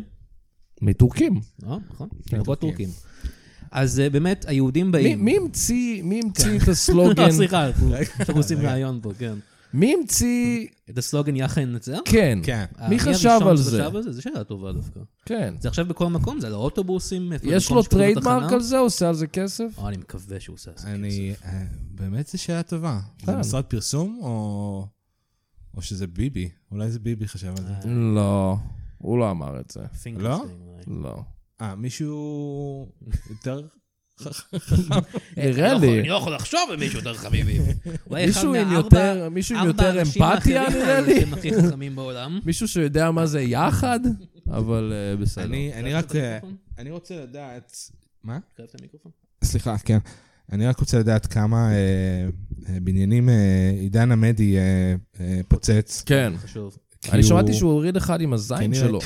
Speaker 2: מטורקים.
Speaker 3: לא, נכון, תינוקות
Speaker 4: טורקים.
Speaker 3: טורקים. אז אה, באמת, היהודים
Speaker 2: כן, מי-
Speaker 3: באים...
Speaker 2: מי המציא מי המציא את
Speaker 3: לא,
Speaker 2: הסלוגן?
Speaker 3: סליחה, אנחנו- אנחנו עושים רעיון פה, כן.
Speaker 2: מי המציא...
Speaker 3: את הסלוגן יחד ננצח?
Speaker 2: כן.
Speaker 4: כן.
Speaker 3: אה,
Speaker 2: מי
Speaker 3: הראשון
Speaker 2: חשב על זה?
Speaker 3: שחשב על זה? זו שאלה טובה דווקא.
Speaker 2: כן.
Speaker 3: זה עכשיו בכל מקום, זה על האוטובוסים, איפה-
Speaker 2: יש
Speaker 3: במקום
Speaker 2: לו
Speaker 3: שקוראים
Speaker 2: טריידמרק
Speaker 3: לתחנה?
Speaker 2: על זה? עושה על זה כסף?
Speaker 3: אה, אני מקווה שהוא עושה את זה.
Speaker 4: אני... אה, באמת זו שאלה טובה. זה
Speaker 2: כן.
Speaker 4: משרד פרסום או... או שזה ביבי? אולי זה ביבי חשב על זה.
Speaker 3: אה.
Speaker 2: לא. הוא לא אמר את זה.
Speaker 4: לא?
Speaker 2: לא.
Speaker 4: אה, מישהו יותר...
Speaker 2: נראה לי.
Speaker 3: לא יכול לחשוב על מישהו יותר חביבי. הוא היה אחד
Speaker 2: מישהו עם
Speaker 3: מארבע-
Speaker 2: יותר- מישהו עם
Speaker 3: ארבע
Speaker 2: יותר
Speaker 3: האנשים
Speaker 2: אמפתיה,
Speaker 3: האחרים
Speaker 2: נראה
Speaker 3: האלה
Speaker 2: לי.
Speaker 3: שהם הכי חכמים בעולם.
Speaker 2: מישהו שיודע מה זה יחד, אבל אה, בסדר.
Speaker 4: אני אני רק... אה,
Speaker 3: המיקרופון?
Speaker 4: אני רוצה לדעת... מה?
Speaker 3: קרב את המיקרופון.
Speaker 4: סליחה, כן. אני רק רוצה לדעת כמה אה, אה, בניינים אה, עידן עמדי אה, אה, פוצץ.
Speaker 2: כן.
Speaker 3: חשוב.
Speaker 4: כי
Speaker 2: אני
Speaker 4: הוא-
Speaker 2: שמעתי שהוא הוריד אחד עם הזין
Speaker 4: כנראה.
Speaker 2: שלו.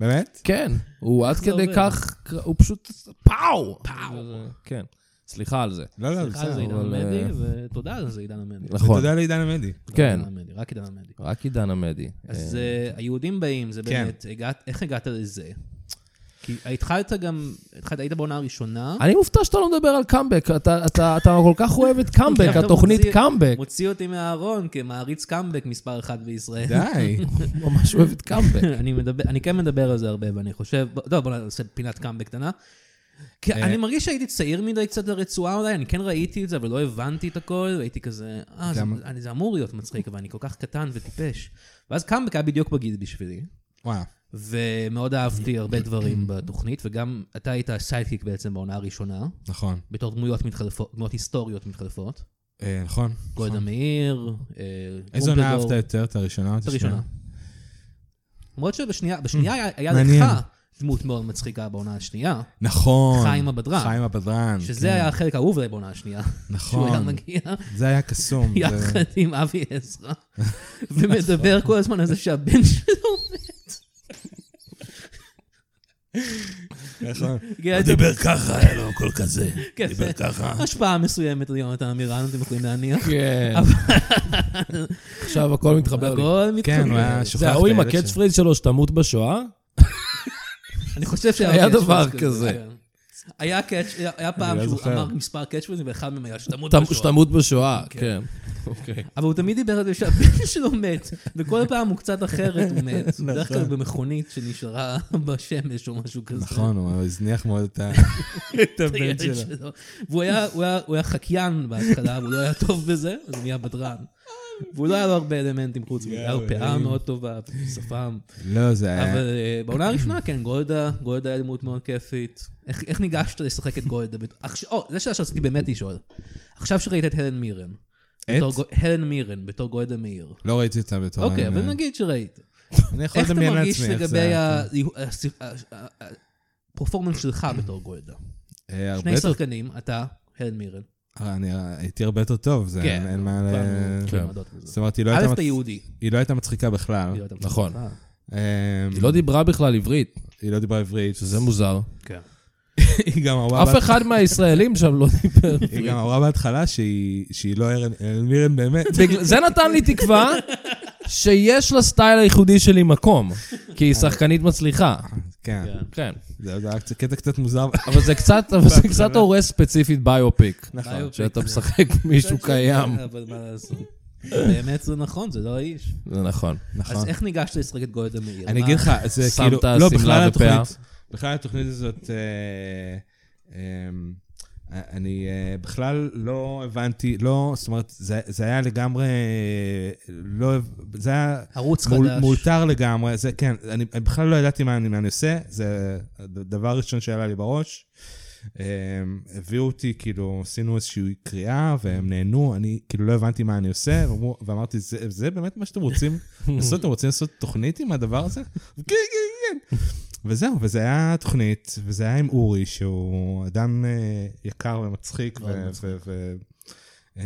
Speaker 4: באמת?
Speaker 2: כן. הוא עד
Speaker 3: זה
Speaker 2: כדי
Speaker 3: עובד?
Speaker 2: כך, הוא פשוט... פאו! פאו! כן. סליחה על זה.
Speaker 4: לא, לא,
Speaker 3: סליחה על זה
Speaker 4: בסדר.
Speaker 3: עידן
Speaker 2: אבל,
Speaker 3: עמדי,
Speaker 2: אה,
Speaker 3: ותודה על זה עידן עמדי.
Speaker 2: נכון.
Speaker 4: תודה לעידן עמדי.
Speaker 3: לא
Speaker 2: כן.
Speaker 3: עידן עמדי, רק עידן עמדי.
Speaker 2: רק עידן עמדי.
Speaker 3: אז אה, היהודים באים, זה
Speaker 4: כן.
Speaker 3: באמת, הגעת- איך הגעת לזה? כי התחלת גם, התחלת, היית בעונה הראשונה,
Speaker 2: אני מופתע שאתה לא מדבר על קאמבק, אתה, אתה, אתה כל כך אוהב את קאמבק,
Speaker 3: אתה
Speaker 2: התוכנית
Speaker 3: מוציא-
Speaker 4: אה,
Speaker 2: קאמבק.
Speaker 3: מוציא אותי מהארון כמעריץ קאמבק מספר אחת בישראל.
Speaker 4: די.
Speaker 2: ממש אוהב את קאמבק.
Speaker 3: אני, מדבר, אני כן מדבר על זה הרבה, ואני חושב, בוא- לא, בוא נעשה פינת קאמבק קטנה. כי
Speaker 4: אה.
Speaker 3: אני מרגיש שהייתי צעיר מדי קצת לרצועה אולי, אני כן ראיתי את זה, אבל לא הבנתי את הכל, והייתי כזה, אה, זה,
Speaker 4: גם-
Speaker 3: אני- זה אמור להיות מצחיק, אבל אני כל כך קטן וטיפש. ואז קאמבק היה בדיוק בגיל בשבילי,
Speaker 4: וואו.
Speaker 3: ומאוד אהבתי הרבה דברים בתוכנית, וגם אתה היית סיידקיק בעצם בעונה הראשונה,
Speaker 4: נכון.
Speaker 3: בתור דמויות מתחלפות, דמויות היסטוריות מתחלפות.
Speaker 4: אה, נכון.
Speaker 3: גולדה
Speaker 4: נכון.
Speaker 3: מאיר, אה,
Speaker 4: איזה עונה
Speaker 3: טרומפלדור.
Speaker 4: אהבת יותר? את הראשונה או את
Speaker 3: את הראשונה.
Speaker 4: השנייה?
Speaker 3: למרות שבשנייה, בשנייה היה- היה
Speaker 4: Hmm. מעניין.
Speaker 3: לך דמות מאוד מצחיקה בעונה השנייה,
Speaker 4: נכון.
Speaker 3: חיים הבדרן.
Speaker 4: חיים הבדרן.
Speaker 3: שזה
Speaker 4: כן.
Speaker 3: היה החלק האהוב עליי בעונה השנייה. שהוא היה
Speaker 4: נכון.
Speaker 3: מגיע
Speaker 4: זה היה קסום. זה-
Speaker 3: יחד עם אבי עזרא, ומדבר כל הזמן על זה שהבן שלו
Speaker 4: נכון.
Speaker 3: מגיע את
Speaker 5: דיבר ככה, היה לו קול כזה.
Speaker 3: כן,
Speaker 5: דיבר ככה.
Speaker 3: השפעה מסוימת על יונתן עמירן, אתם יכולים להניח.
Speaker 2: כן. עכשיו הכל מתחבר לי.
Speaker 3: הכל
Speaker 4: כן, הוא
Speaker 3: מתקבל.
Speaker 4: היה שוכח
Speaker 2: זה ההוא עם הקאץ' פריז שלו, שתמות בשואה?
Speaker 3: אני חושב שהיה
Speaker 2: היה
Speaker 3: catch phrase
Speaker 2: דבר כזה.
Speaker 3: כן. היה קאץ', היה פעם
Speaker 4: לא
Speaker 3: שהוא
Speaker 4: זוכר.
Speaker 3: אמר מספר קאץ' פריז, ואחד מהם היה שתמות
Speaker 2: שת-
Speaker 3: בשואה.
Speaker 2: שתמות בשואה, כן. אוקיי.
Speaker 3: אבל הוא תמיד דיבר על זה שהבן שלו מת, וכל פעם הוא קצת אחרת, הוא מת. בדרך כלל במכונית שנשארה בשמש או משהו כזה.
Speaker 4: נכון, הוא הזניח מאוד את ה- את
Speaker 3: את הילד
Speaker 4: הבן שלו.
Speaker 3: שלו. והוא היה- הוא היה- הוא היה חקיין בהתחלה, והוא לא היה טוב בזה, אז הוא נהיה בדרן. והוא לא היה לו הרבה אלמנטים חוץ מזה, היה לו פאה מאוד טובה, שפם.
Speaker 4: לא, זה היה...
Speaker 3: אבל אה, בעונה הראשונה, כן, גולדה, גולדה היה דמות מאוד כיפית. איך איך ניגשת לשחק את גולדה? בת- עכשיו- או, זו שאלה שרציתי באמת לשאול. עכשיו שראית את הלן מירן.
Speaker 4: את?
Speaker 3: בתור גו- הלן מירן, בתור גולדה מאיר.
Speaker 4: לא ראיתי אותה בתור...
Speaker 3: אוקיי, אבל
Speaker 4: אה,
Speaker 3: נגיד שראית.
Speaker 4: אני יכול
Speaker 3: איך אתה
Speaker 4: לדמיין
Speaker 3: מרגיש
Speaker 4: לעצמי איך זה
Speaker 3: לגבי
Speaker 4: היה.
Speaker 3: ה- הס- ה- ה- ה- הפרפורמנס שלך בתור גולדה?
Speaker 4: אה, הרבה
Speaker 3: שני
Speaker 4: יותר-
Speaker 3: שחקנים, אתה, הלן מירן.
Speaker 4: אה, אני הייתי הרבה יותר טוב, זה
Speaker 3: כן,
Speaker 4: אין אין מה ל...
Speaker 3: כולנו
Speaker 2: כן.
Speaker 3: יודעות את זה.
Speaker 4: אה, זאת אומרת, היא לא
Speaker 3: א',
Speaker 4: הייתה
Speaker 3: אתה
Speaker 4: מצ-
Speaker 3: יהודי.
Speaker 4: היא לא הייתה מצחיקה בכלל.
Speaker 3: היא לא יודעת את זה.
Speaker 2: נכון.
Speaker 3: אה,
Speaker 4: אה,
Speaker 2: היא לא דיברה בכלל עברית,
Speaker 4: היא לא דיברה עברית.
Speaker 2: שזה מוזר.
Speaker 3: כן.
Speaker 4: היא גם אמרה...
Speaker 2: אף אחד מהישראלים שם לא דיבר
Speaker 4: היא
Speaker 2: עברית.
Speaker 4: גם אמרה בהתחלה שהיא שהיא לא ארן אלמירן באמת.
Speaker 2: בגלל- זה נתן לי תקווה שיש לסטייל הייחודי שלי מקום, כי היא שחקנית מצליחה.
Speaker 4: כן,
Speaker 3: כן.
Speaker 2: כן.
Speaker 4: זה זה היה קצת- קטע קצת מוזר.
Speaker 2: אבל זה קצת, אבל זה קצת הורס ספציפית ביופיק.
Speaker 4: נכון. כאילו-
Speaker 3: ביופיק.
Speaker 2: שאתה משחק מישהו קיים.
Speaker 3: אבל מה לעשות. באמת זה נכון, זה לא האיש.
Speaker 2: זה נכון.
Speaker 4: נכון.
Speaker 3: אז איך ניגשת לשחק את גולדה מאיר?
Speaker 4: אני
Speaker 3: מה-
Speaker 4: אגיד לך, זה
Speaker 2: שמת
Speaker 4: כאילו... לא,
Speaker 2: שמלה
Speaker 4: בכלל
Speaker 2: ופאה.
Speaker 4: התוכנית... בכלל התוכנית הזאת... אה, אמ, אני אה, בכלל לא הבנתי, לא, זאת אומרת, זה זה היה לגמרי, אה, לא, זה היה
Speaker 3: ערוץ
Speaker 4: מול-
Speaker 3: חדש.
Speaker 4: מאולתר לגמרי, זה כן, אני אני בכלל לא ידעתי מה אני מה אני עושה, זה הדבר הראשון שעלה לי בראש. הם הביאו אותי, כאילו, עשינו איזושהי קריאה, והם נהנו, אני כאילו לא הבנתי מה אני עושה, והם אמרו- ואמרתי, "זה- זה באמת מה שאתם רוצים לעשות? אתם רוצים לעשות תוכנית עם הדבר הזה? כן, כן, כן. וזהו, וזה היה תוכנית, וזה היה עם אורי, שהוא אדם אה, יקר ומצחיק, ו- ו- ו- אה,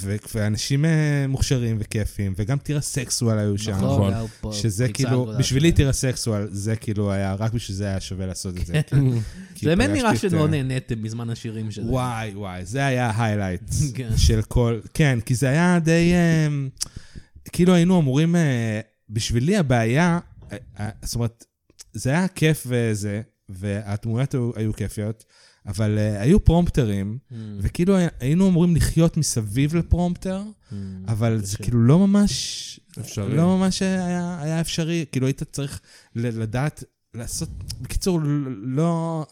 Speaker 4: ו- ואנשים אה, מוכשרים וכיפים, וגם טירה סקסואל היו שם.
Speaker 2: נכון.
Speaker 3: היה פה
Speaker 4: שזה
Speaker 3: קפיצה
Speaker 4: כאילו,
Speaker 3: גדולה.
Speaker 4: בשבילי טירה סקסואל, זה כאילו היה, רק בשביל זה היה שווה לעשות את זה. כי
Speaker 3: כן, זה באמת נראה
Speaker 4: פגשתי את,
Speaker 3: שלא
Speaker 4: אה,
Speaker 3: נהניתם בזמן השירים שזה.
Speaker 4: וואי, וואי, זה היה ההיילייט
Speaker 3: כן.
Speaker 4: של כל... כן, כי זה היה די... אמ, כאילו היינו אמורים... אה, בשבילי הבעיה, אה, אה, זאת אומרת, זה היה כיף וזה, והתמונות היו, היו כיפיות, אבל אה, היו פרומפטרים,
Speaker 3: Mm.
Speaker 4: וכאילו הי- היינו אמורים לחיות מסביב לפרומפטר,
Speaker 3: Mm, Mm-hmm.
Speaker 4: אבל זה
Speaker 3: קשה.
Speaker 4: כאילו לא ממש...
Speaker 2: אפשרי.
Speaker 4: לא ממש היה, היה אפשרי, כאילו היית צריך ל- לדעת, לעשות, בקיצור, ל- לא...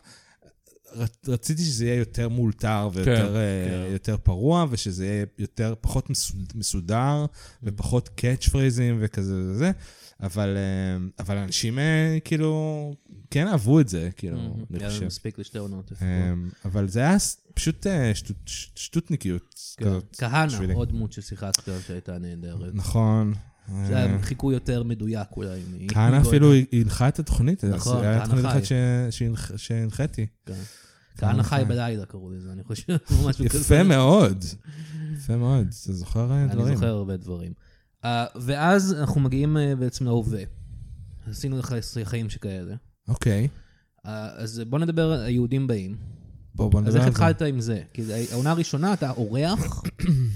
Speaker 4: רצ- רציתי שזה יהיה יותר מאולתר ויותר כן, כן. יותר פרוע, ושזה יהיה יותר, פחות מסוד- מסודר,
Speaker 3: Mm.
Speaker 4: ופחות קאץ' פרייזים וכזה וזה, אבל, אה, אבל אנשים אה, כאילו כן אהבו את זה, כאילו, אני
Speaker 3: היה לנו
Speaker 4: חושב.
Speaker 3: Mm-hmm. מספיק לשתי עונות. לפחות.
Speaker 4: אה, אבל זה היה ס- פשוט אה, שטות, ש- שטותניקיות
Speaker 3: כן.
Speaker 4: כזאת.
Speaker 3: כהנא,
Speaker 4: בשבילי.
Speaker 3: עוד דמות ששיחקת עליו שהייתה נהדרת.
Speaker 4: נכון.
Speaker 3: זה
Speaker 4: אה,
Speaker 3: היה חיקוי יותר מדויק אולי. מ-
Speaker 4: כהנא
Speaker 3: מגולדה.
Speaker 4: אפילו הנחה את התוכנית, אז
Speaker 3: נכון,
Speaker 4: היה
Speaker 3: כהנא
Speaker 4: תוכנית אחת
Speaker 3: חי.
Speaker 4: ש- שהנח- שהנחיתי.
Speaker 3: כן. כהנא חי בלילה קראו לזה, אני חושב, או משהו כזה.
Speaker 4: נכון. יפה מאוד, יפה מאוד, אתה זוכר אה,
Speaker 3: אני
Speaker 4: דברים.
Speaker 3: זוכר הרבה דברים. אה, ואז אנחנו מגיעים אה, בעצם להווה. עשינו לך חיים שכאלה.
Speaker 4: אוקיי,
Speaker 3: אה, אז בוא נדבר על היהודים באים.
Speaker 4: בואו בואו
Speaker 3: אז
Speaker 4: נדבר
Speaker 3: איך
Speaker 4: על זה.
Speaker 3: התחלת עם זה? כי זה- העונה הראשונה אתה אורח,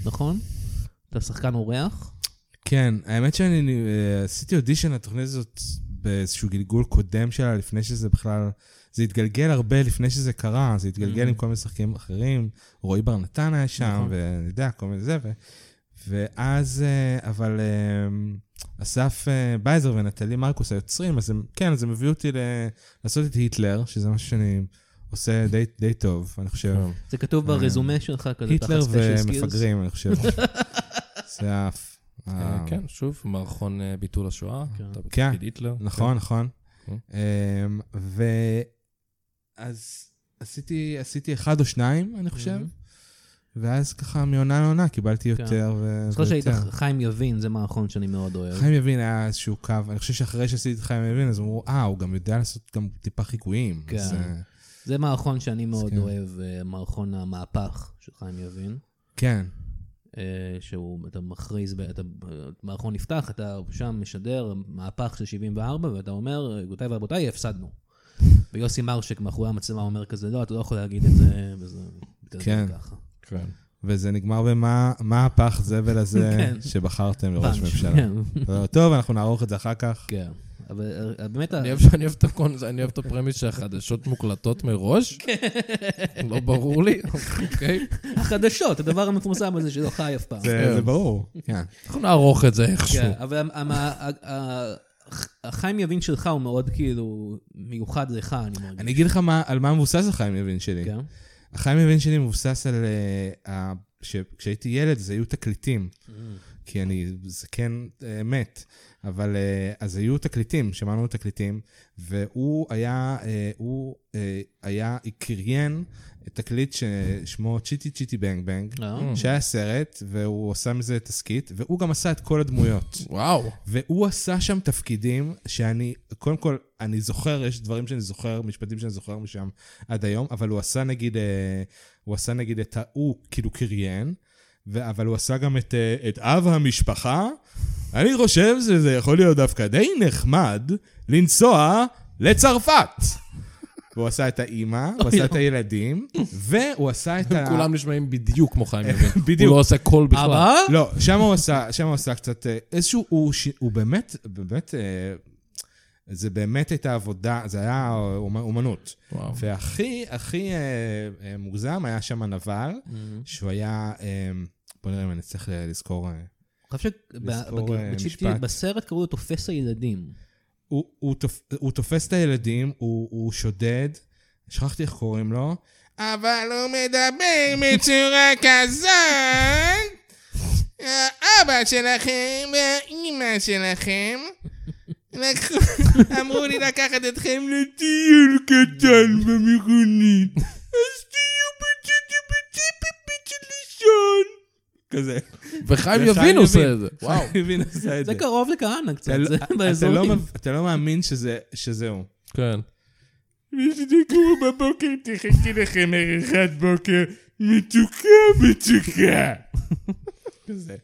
Speaker 3: נכון? אתה שחקן אורח?
Speaker 4: כן, האמת שאני אה, עשיתי אודישן לתוכנית הזאת באיזשהו גלגול קודם שלה, לפני שזה בכלל... זה התגלגל הרבה לפני שזה קרה, זה התגלגל עם כל מיני שחקנים אחרים, רועי בר נתן היה
Speaker 2: נכון.
Speaker 4: שם, ואני יודע, כל מיני זה, ו... ואז, אה, אבל אה, אסף אה, בייזר ונטלי מרקוס היוצרים, אז הם, כן, אז הם הביאו אותי ל... לעשות את היטלר, שזה משהו שאני עושה די, די טוב, אני
Speaker 2: כן.
Speaker 4: חושב.
Speaker 3: זה כתוב ברזומה שלך כזה תחת
Speaker 4: אה, היטלר
Speaker 3: special skills.
Speaker 4: ומפגרים, אני חושב. זה האף.
Speaker 2: אה, כן, שוב, מערכון אה, ביטול השואה.
Speaker 3: כן.
Speaker 2: אתה
Speaker 4: כן.
Speaker 2: בתפקיד היטלר.
Speaker 4: נכון, נכון.
Speaker 3: אוקיי.
Speaker 2: כן.
Speaker 4: אמ, ו... אז עשיתי, עשיתי אחד או שניים, אני חושב, ואז ככה מעונה לעונה קיבלתי
Speaker 3: כן.
Speaker 4: יותר ו...
Speaker 3: אני זוכר שהיית
Speaker 4: ויותר.
Speaker 3: חיים יבין, זה מערכון שאני מאוד אוהב.
Speaker 4: כן. חיים יבין היה איזשהו קו, אני חושב שאחרי שעשיתי את חיים יבין, אז אמרו, אה, הוא גם יודע לעשות גם טיפה חיקויים.
Speaker 3: כן.
Speaker 4: אז, אה,
Speaker 3: זה מערכון שאני מאוד
Speaker 4: כן.
Speaker 3: אוהב, אה, מערכון המהפך של חיים יבין.
Speaker 4: כן,
Speaker 3: אה, שהוא, אתה מכריז, ב- אתה, מערכון נפתח, אתה שם משדר מהפך של 74, ואתה אומר, גבירותיי ורבותיי, הפסדנו. ויוסי מרשק מאחורי המצלמה אומר כזה, לא, אתה לא יכול להגיד את זה, וזה מתגלגל
Speaker 4: כן.
Speaker 3: ככה.
Speaker 2: כן.
Speaker 3: אה.
Speaker 4: וזה נגמר במה מה הפח זבל הזה
Speaker 3: כן.
Speaker 4: שבחרתם לראש
Speaker 3: פאנץ',
Speaker 4: ממשלה.
Speaker 3: כן,
Speaker 4: טוב, אנחנו נערוך את זה אחר כך.
Speaker 3: כן. אבל אה, באמת, ה-
Speaker 2: אני אוהב שאני אוהב את הקונס, אני אוהב את הפרמיס שהחדשות מוקלטות מראש.
Speaker 3: כן.
Speaker 2: לא ברור לי, אוקיי.
Speaker 3: החדשות, הדבר המפורסם הזה שלא חי אף פעם.
Speaker 4: זה זה ברור. כן.
Speaker 2: אנחנו נערוך את זה איכשהו.
Speaker 3: כן, אבל המ- המ- ה- ה- החיים יבין שלך הוא מאוד כאילו מיוחד לך, אני מרגיש.
Speaker 4: אני אגיד לך מה- על מה מבוסס החיים יבין שלי.
Speaker 3: כן?
Speaker 4: החיים מבין שלי מבוסס על... Uh, ה... שכשהייתי ילד אז היו תקליטים, כי אני זקן uh, מת, אבל uh, אז היו תקליטים, שמענו תקליטים, והוא היה, uh, הוא uh, היה, קריין תקליט ששמו צ'יטי צ'יטי בנג בנג,
Speaker 3: לא?
Speaker 4: שהיה סרט, והוא עשה מזה תסכית, והוא גם עשה את כל הדמויות.
Speaker 2: וואו.
Speaker 4: והוא עשה שם תפקידים שאני, קודם כל, אני זוכר, יש דברים שאני זוכר, משפטים שאני זוכר משם עד היום, אבל הוא עשה נגיד, אה, הוא עשה נגיד את ה... הוא כאילו קריין, ו- אבל הוא עשה גם את, אה, את אב המשפחה. אני חושב שזה יכול להיות דווקא די נחמד לנסוע לצרפת. והוא עשה את האימא, הוא עשה את הילדים, והוא עשה את ה...
Speaker 2: כולם נשמעים בדיוק כמו חיים יבין.
Speaker 4: בדיוק.
Speaker 2: הוא לא עושה קול בכלל.
Speaker 3: אבא?
Speaker 4: לא, שם הוא עשה, שם הוא עשה קצת אה, איזשהו, הוא, ש... הוא באמת, באמת, אה, זה באמת הייתה עבודה, זה היה אומ- אומנות.
Speaker 2: וואו.
Speaker 4: והכי, הכי אה, אה, מוגזם היה שם הנבל,
Speaker 3: Mm-hmm.
Speaker 4: שהוא היה, אה, בוא נראה אם אני צריך ל- לזכור, אה,
Speaker 3: אני חושב
Speaker 4: לזכור, אה,
Speaker 3: שבצ'יטי,
Speaker 4: משפט.
Speaker 3: בסרט קראו לו תופס הילדים.
Speaker 4: הוא, הוא, תופ, הוא תופס את הילדים, הוא, הוא שודד, שכחתי איך קוראים לו, אבל הוא מדבר בצורה כזאת, האבא שלכם והאימא שלכם לקחו, אמרו לי לקחת אתכם לטיול קטן במכונית. כזה.
Speaker 2: וחיים
Speaker 4: וחיים
Speaker 2: יבין עושה
Speaker 4: יבין.
Speaker 2: את זה. וואו.
Speaker 4: חיים יבין עשה את זה.
Speaker 3: זה קרוב לכהנא קצת,
Speaker 4: אתה לא-
Speaker 3: זה
Speaker 4: אתה
Speaker 3: באזור.
Speaker 4: לא מב- אתה לא מאמין שזה- שזהו.
Speaker 2: כן.
Speaker 4: מי שתקראו בבוקר, תחכי לכם ארוחת בוקר, מתוקה, מתוקה. כזה.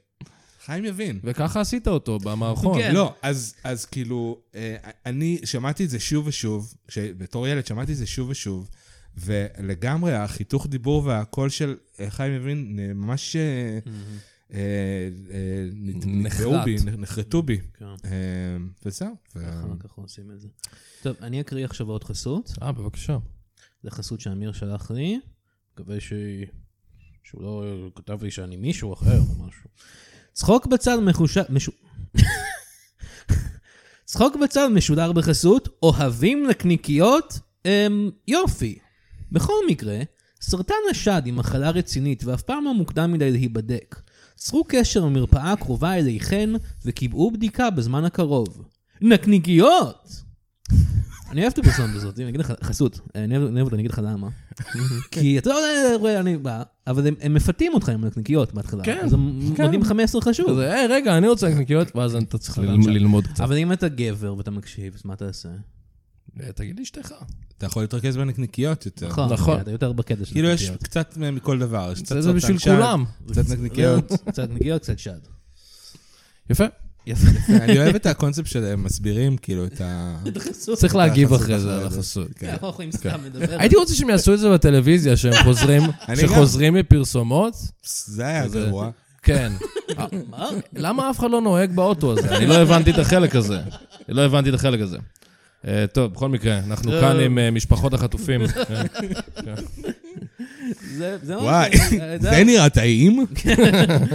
Speaker 4: חיים יבין.
Speaker 2: וככה עשית אותו במערכון.
Speaker 3: כן.
Speaker 4: לא, אז, אז כאילו, אה, אני שמעתי את זה שוב ושוב, כש- בתור ילד שמעתי את זה שוב ושוב, ולגמרי החיתוך דיבור והקול של אה, חיים יבין אה, ממש אה, אה, אה, נט-
Speaker 2: נחרט.
Speaker 4: נתבעו בי, נ- נחרטו בי.
Speaker 3: כן.
Speaker 4: אה, וזהו. ו-
Speaker 2: נכון.
Speaker 3: אחר כך עושים את זה. טוב, אני אקריא עכשיו עוד חסות.
Speaker 2: אה, בבקשה.
Speaker 3: זה חסות שאמיר שלח לי. מקווה ש... שהוא לא כתב לי שאני מישהו אחר או משהו. צחוק בצד מחושב... משו... צחוק בצד משודר בחסות, אוהבים נקניקיות? אמ, יופי. בכל מקרה, סרטן השד היא מחלה רצינית ואף פעם לא מוקדם מדי להיבדק. צרו קשר למרפאה הקרובה אליכן וקיבעו בדיקה בזמן הקרוב. נקניקיות! אני אוהב את הפרסומת הזאת, אני אגיד לך, חסות, אני אוהב אני אוהב אותה, אני אגיד לך למה. כי אתה לא רואה, אני בא, אבל הם- הם מפתים אותך עם נקניקיות בהתחלה.
Speaker 2: כן,
Speaker 3: אז הם
Speaker 2: כן.
Speaker 3: נותנים לך מסר חשוב.
Speaker 2: כזה, היי, אה, רגע, אני רוצה נקניקיות, ואז אתה צריך
Speaker 3: חבל
Speaker 2: ללמ-
Speaker 3: שם.
Speaker 2: ללמוד קצת.
Speaker 3: אבל אם אתה גבר ואתה מקשיב, אז מה תעשה?
Speaker 2: אה, תגיד לאשתך.
Speaker 4: אתה יכול להתרכז בנקניקיות יותר.
Speaker 2: נכון.
Speaker 3: אתה יותר בקטע של
Speaker 4: כאילו יש
Speaker 3: נקניקיות.
Speaker 4: קצת מ- מכל דבר. יש קצת
Speaker 2: זה
Speaker 4: סרטן
Speaker 2: בשביל
Speaker 4: שד,
Speaker 2: כולם. לא.
Speaker 4: קצת נקניקיות.
Speaker 3: קצת נקניקיות, קצת שד.
Speaker 2: יפה.
Speaker 3: יפה.
Speaker 4: אני אוהב את הקונספט שהם מסבירים, כאילו, את ה...
Speaker 2: צריך להגיב
Speaker 4: החסות
Speaker 2: אחרי זה על
Speaker 4: אחרי זה.
Speaker 2: החסות.
Speaker 4: כן. אה,
Speaker 3: אנחנו לא יכולים סתם לדבר.
Speaker 2: הייתי רוצה שהם יעשו את זה בטלוויזיה, שהם חוזרים,
Speaker 4: גם.
Speaker 2: שחוזרים מפרסומות.
Speaker 4: זה היה
Speaker 2: זה-
Speaker 4: גרוע.
Speaker 2: כן. אה, למה אף אחד לא נוהג באוטו הזה? אני לא הבנתי את החלק הזה. לא הבנתי את החלק הזה. אה, טוב, בכל מקרה, אנחנו
Speaker 3: אה.
Speaker 2: כאן עם אה, משפחות החטופים.
Speaker 3: זה- זה מה-
Speaker 4: וואי,
Speaker 3: אה,
Speaker 4: זה נראה טעים?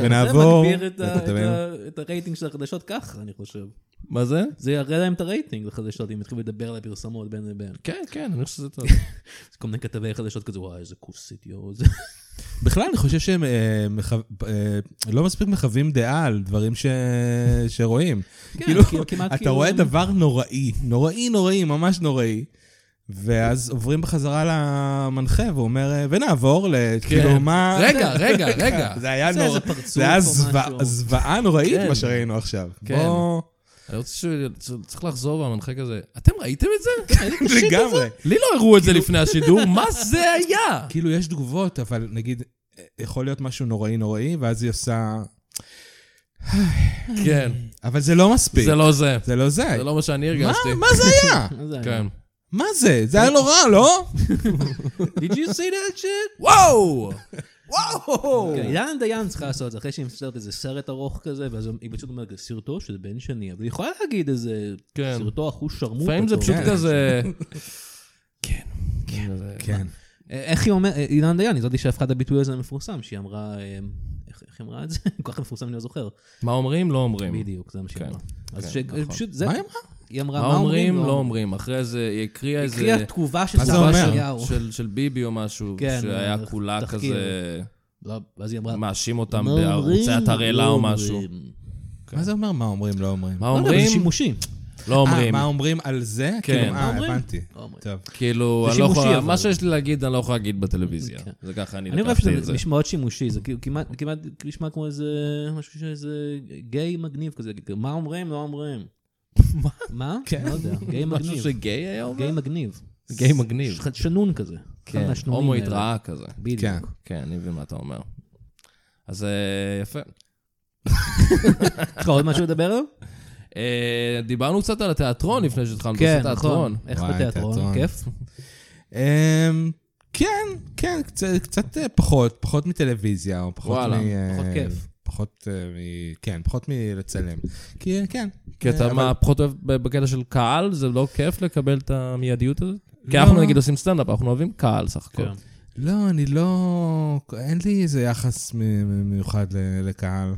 Speaker 4: ונעבור...
Speaker 3: זה מגביר את ה- את
Speaker 4: לכתבים.
Speaker 3: ה- את הרייטינג של החדשות ככה, אני חושב.
Speaker 2: מה זה?
Speaker 3: זה יראה להם את הרייטינג לחדשות, אם יתחילו לדבר על הפרסומות בין לבין.
Speaker 2: כן, כן, אני חושב שזה טוב.
Speaker 3: כל מיני כתבי חדשות כזה, וואי, איזה כוסית, יואו. זה-
Speaker 4: בכלל, אני חושב שהם אה, מחו- אה, לא מספיק מחווים דעה על דברים ש- שרואים.
Speaker 3: כן,
Speaker 4: כאילו,
Speaker 3: כאילו, כמעט
Speaker 4: אתה
Speaker 3: כאילו-
Speaker 4: רואה דבר נוראי, נוראי, נוראי, ממש נוראי, ואז עוברים בחזרה למנחה, והוא אומר, אה, ונעבור ל... כאילו, מה...
Speaker 2: רגע, רגע, רגע.
Speaker 4: זה היה
Speaker 3: כן. זה איזה
Speaker 4: נורא...
Speaker 3: פרצוף
Speaker 4: זה היה
Speaker 3: או
Speaker 4: זוועה-
Speaker 3: משהו.
Speaker 4: זוועה נוראית,
Speaker 2: כן.
Speaker 4: מה שראינו עכשיו.
Speaker 2: כן.
Speaker 4: בוא...
Speaker 2: אני רוצה ש... צריך לחזור והמנחה כזה, אתם ראיתם את זה?
Speaker 4: לגמרי.
Speaker 2: לי לא הראו את זה לפני השידור, מה זה היה?
Speaker 4: כאילו, יש תגובות, אבל נגיד, אה, יכול להיות משהו נוראי נוראי, ואז היא עושה...
Speaker 2: כן,
Speaker 4: אבל זה לא מספיק.
Speaker 2: זה לא זה.
Speaker 4: זה לא זה.
Speaker 2: זה לא מה שאני
Speaker 4: מה-
Speaker 2: הרגשתי.
Speaker 4: מה זה היה?
Speaker 3: מה זה היה?
Speaker 2: כן.
Speaker 4: מה זה? זה היה נורא, לא?
Speaker 3: Did you see that shit?
Speaker 2: וואו!
Speaker 3: כן, אילנה דיין צריכה לעשות את זה, אחרי שהיא מסתכלת איזה סרט ארוך כזה, ואז היא פשוט אומרת, "זה סרטו של בן שני, אבל היא יכולה להגיד איזה
Speaker 2: כן.
Speaker 3: סרטו אחוש שרמוט.
Speaker 2: לפעמים זה פשוט
Speaker 4: כן.
Speaker 2: כזה... כן. זה-
Speaker 4: כן.
Speaker 3: אה, איך היא אומרת, אילנה דיין, היא זאתי שהפכה את הביטוי הזה למפורסם, שהיא אמרה, אה, איך איך היא אמרה את זה? כל כך מפורסם, אני לא זוכר.
Speaker 2: מה אומרים? לא אומרים.
Speaker 3: בדיוק, זה מה שהיא
Speaker 2: כן,
Speaker 3: אמרה.
Speaker 2: כן,
Speaker 3: אז
Speaker 2: נכון.
Speaker 3: שפשוט זה...
Speaker 4: מה היא אמרה?
Speaker 3: היא אמרה,
Speaker 2: מה אומרים? לא אומרים. אחרי זה היא הקריאה איזה...
Speaker 3: הקריאה תגובה של
Speaker 4: מה זה
Speaker 3: סבא
Speaker 4: אומר?
Speaker 3: יאו.
Speaker 2: של- של ביבי או משהו,
Speaker 3: כן,
Speaker 2: שהיה
Speaker 3: אה,
Speaker 2: כולה
Speaker 3: תחקיר.
Speaker 2: כזה...
Speaker 3: לא, ואז היא אמרה,
Speaker 2: מאשים אותם
Speaker 3: "מה אומרים?
Speaker 2: בערוצי התרעלה
Speaker 3: לא
Speaker 2: או
Speaker 3: אומרים."
Speaker 2: משהו.
Speaker 4: מה זה אומר מה אומרים, לא אומרים?
Speaker 2: כן. מה
Speaker 3: לא יודע,
Speaker 2: אומרים?
Speaker 3: זה שימושי.
Speaker 2: לא
Speaker 4: אה,
Speaker 2: אומרים.
Speaker 4: מה אומרים על זה?
Speaker 2: כן.
Speaker 4: כאילו,
Speaker 2: מה
Speaker 4: אה,
Speaker 3: אומרים?
Speaker 4: הבנתי.
Speaker 3: לא אומרים.
Speaker 4: טוב.
Speaker 2: כאילו,
Speaker 3: זה
Speaker 2: אני לא
Speaker 3: שימושי,
Speaker 2: יכול...
Speaker 3: אבל.
Speaker 2: מה שיש לי להגיד, אני לא יכול להגיד בטלוויזיה.
Speaker 3: כן.
Speaker 2: זה ככה אני
Speaker 3: אני חושב
Speaker 2: לקחתי את
Speaker 3: שזה
Speaker 2: זה.
Speaker 3: נשמע מאוד שימושי, זה כאילו כמעט, כמעט נשמע כמו איזה משהו שאיזה גיי מגניב כזה, כאילו, מה אומרים? לא אומרים. מה? מה? לא יודע, גיי
Speaker 2: משהו
Speaker 3: מגניב.
Speaker 2: שגיי היה אומר?
Speaker 3: גיי מגיב.
Speaker 2: גיי מגניב.
Speaker 3: ש- שנון כזה. אחד
Speaker 2: כן,
Speaker 3: מהשנונים
Speaker 2: הומואית
Speaker 3: האלה.
Speaker 2: רעה כזה.
Speaker 4: כן.
Speaker 3: בדיוק.
Speaker 2: כן, אני מבין מה אתה אומר. אז אה, יפה.
Speaker 3: יש לך עוד משהו לדבר עליו?
Speaker 2: אה, דיברנו קצת על התיאטרון לפני שהתחלנו
Speaker 3: כן,
Speaker 2: לעשות
Speaker 3: נכון.
Speaker 2: תיאטרון.
Speaker 3: איך
Speaker 4: וואי,
Speaker 3: בתיאטרון?
Speaker 4: תיאטרון.
Speaker 3: כיף?
Speaker 4: אמ, כן, כן, קצת- קצת אה, פחות, פחות מטלוויזיה, או פחות
Speaker 2: וואלה,
Speaker 4: מ... אה,
Speaker 3: פחות כיף.
Speaker 4: פחות אה, מ... כן, פחות מלצלם. כי אה, כן.
Speaker 2: כי
Speaker 4: אה,
Speaker 2: אתה
Speaker 4: אבל-
Speaker 2: מה, פחות אוהב ב- בקטע של קהל, זה לא כיף לקבל את המיידיות הזאת? כי
Speaker 4: לא.
Speaker 2: אנחנו נגיד עושים סטנדאפ, אנחנו אוהבים קהל סך
Speaker 3: כן.
Speaker 2: הכל.
Speaker 4: לא, אני לא... אין לי איזה יחס מ- מ- מיוחד ל- לקהל,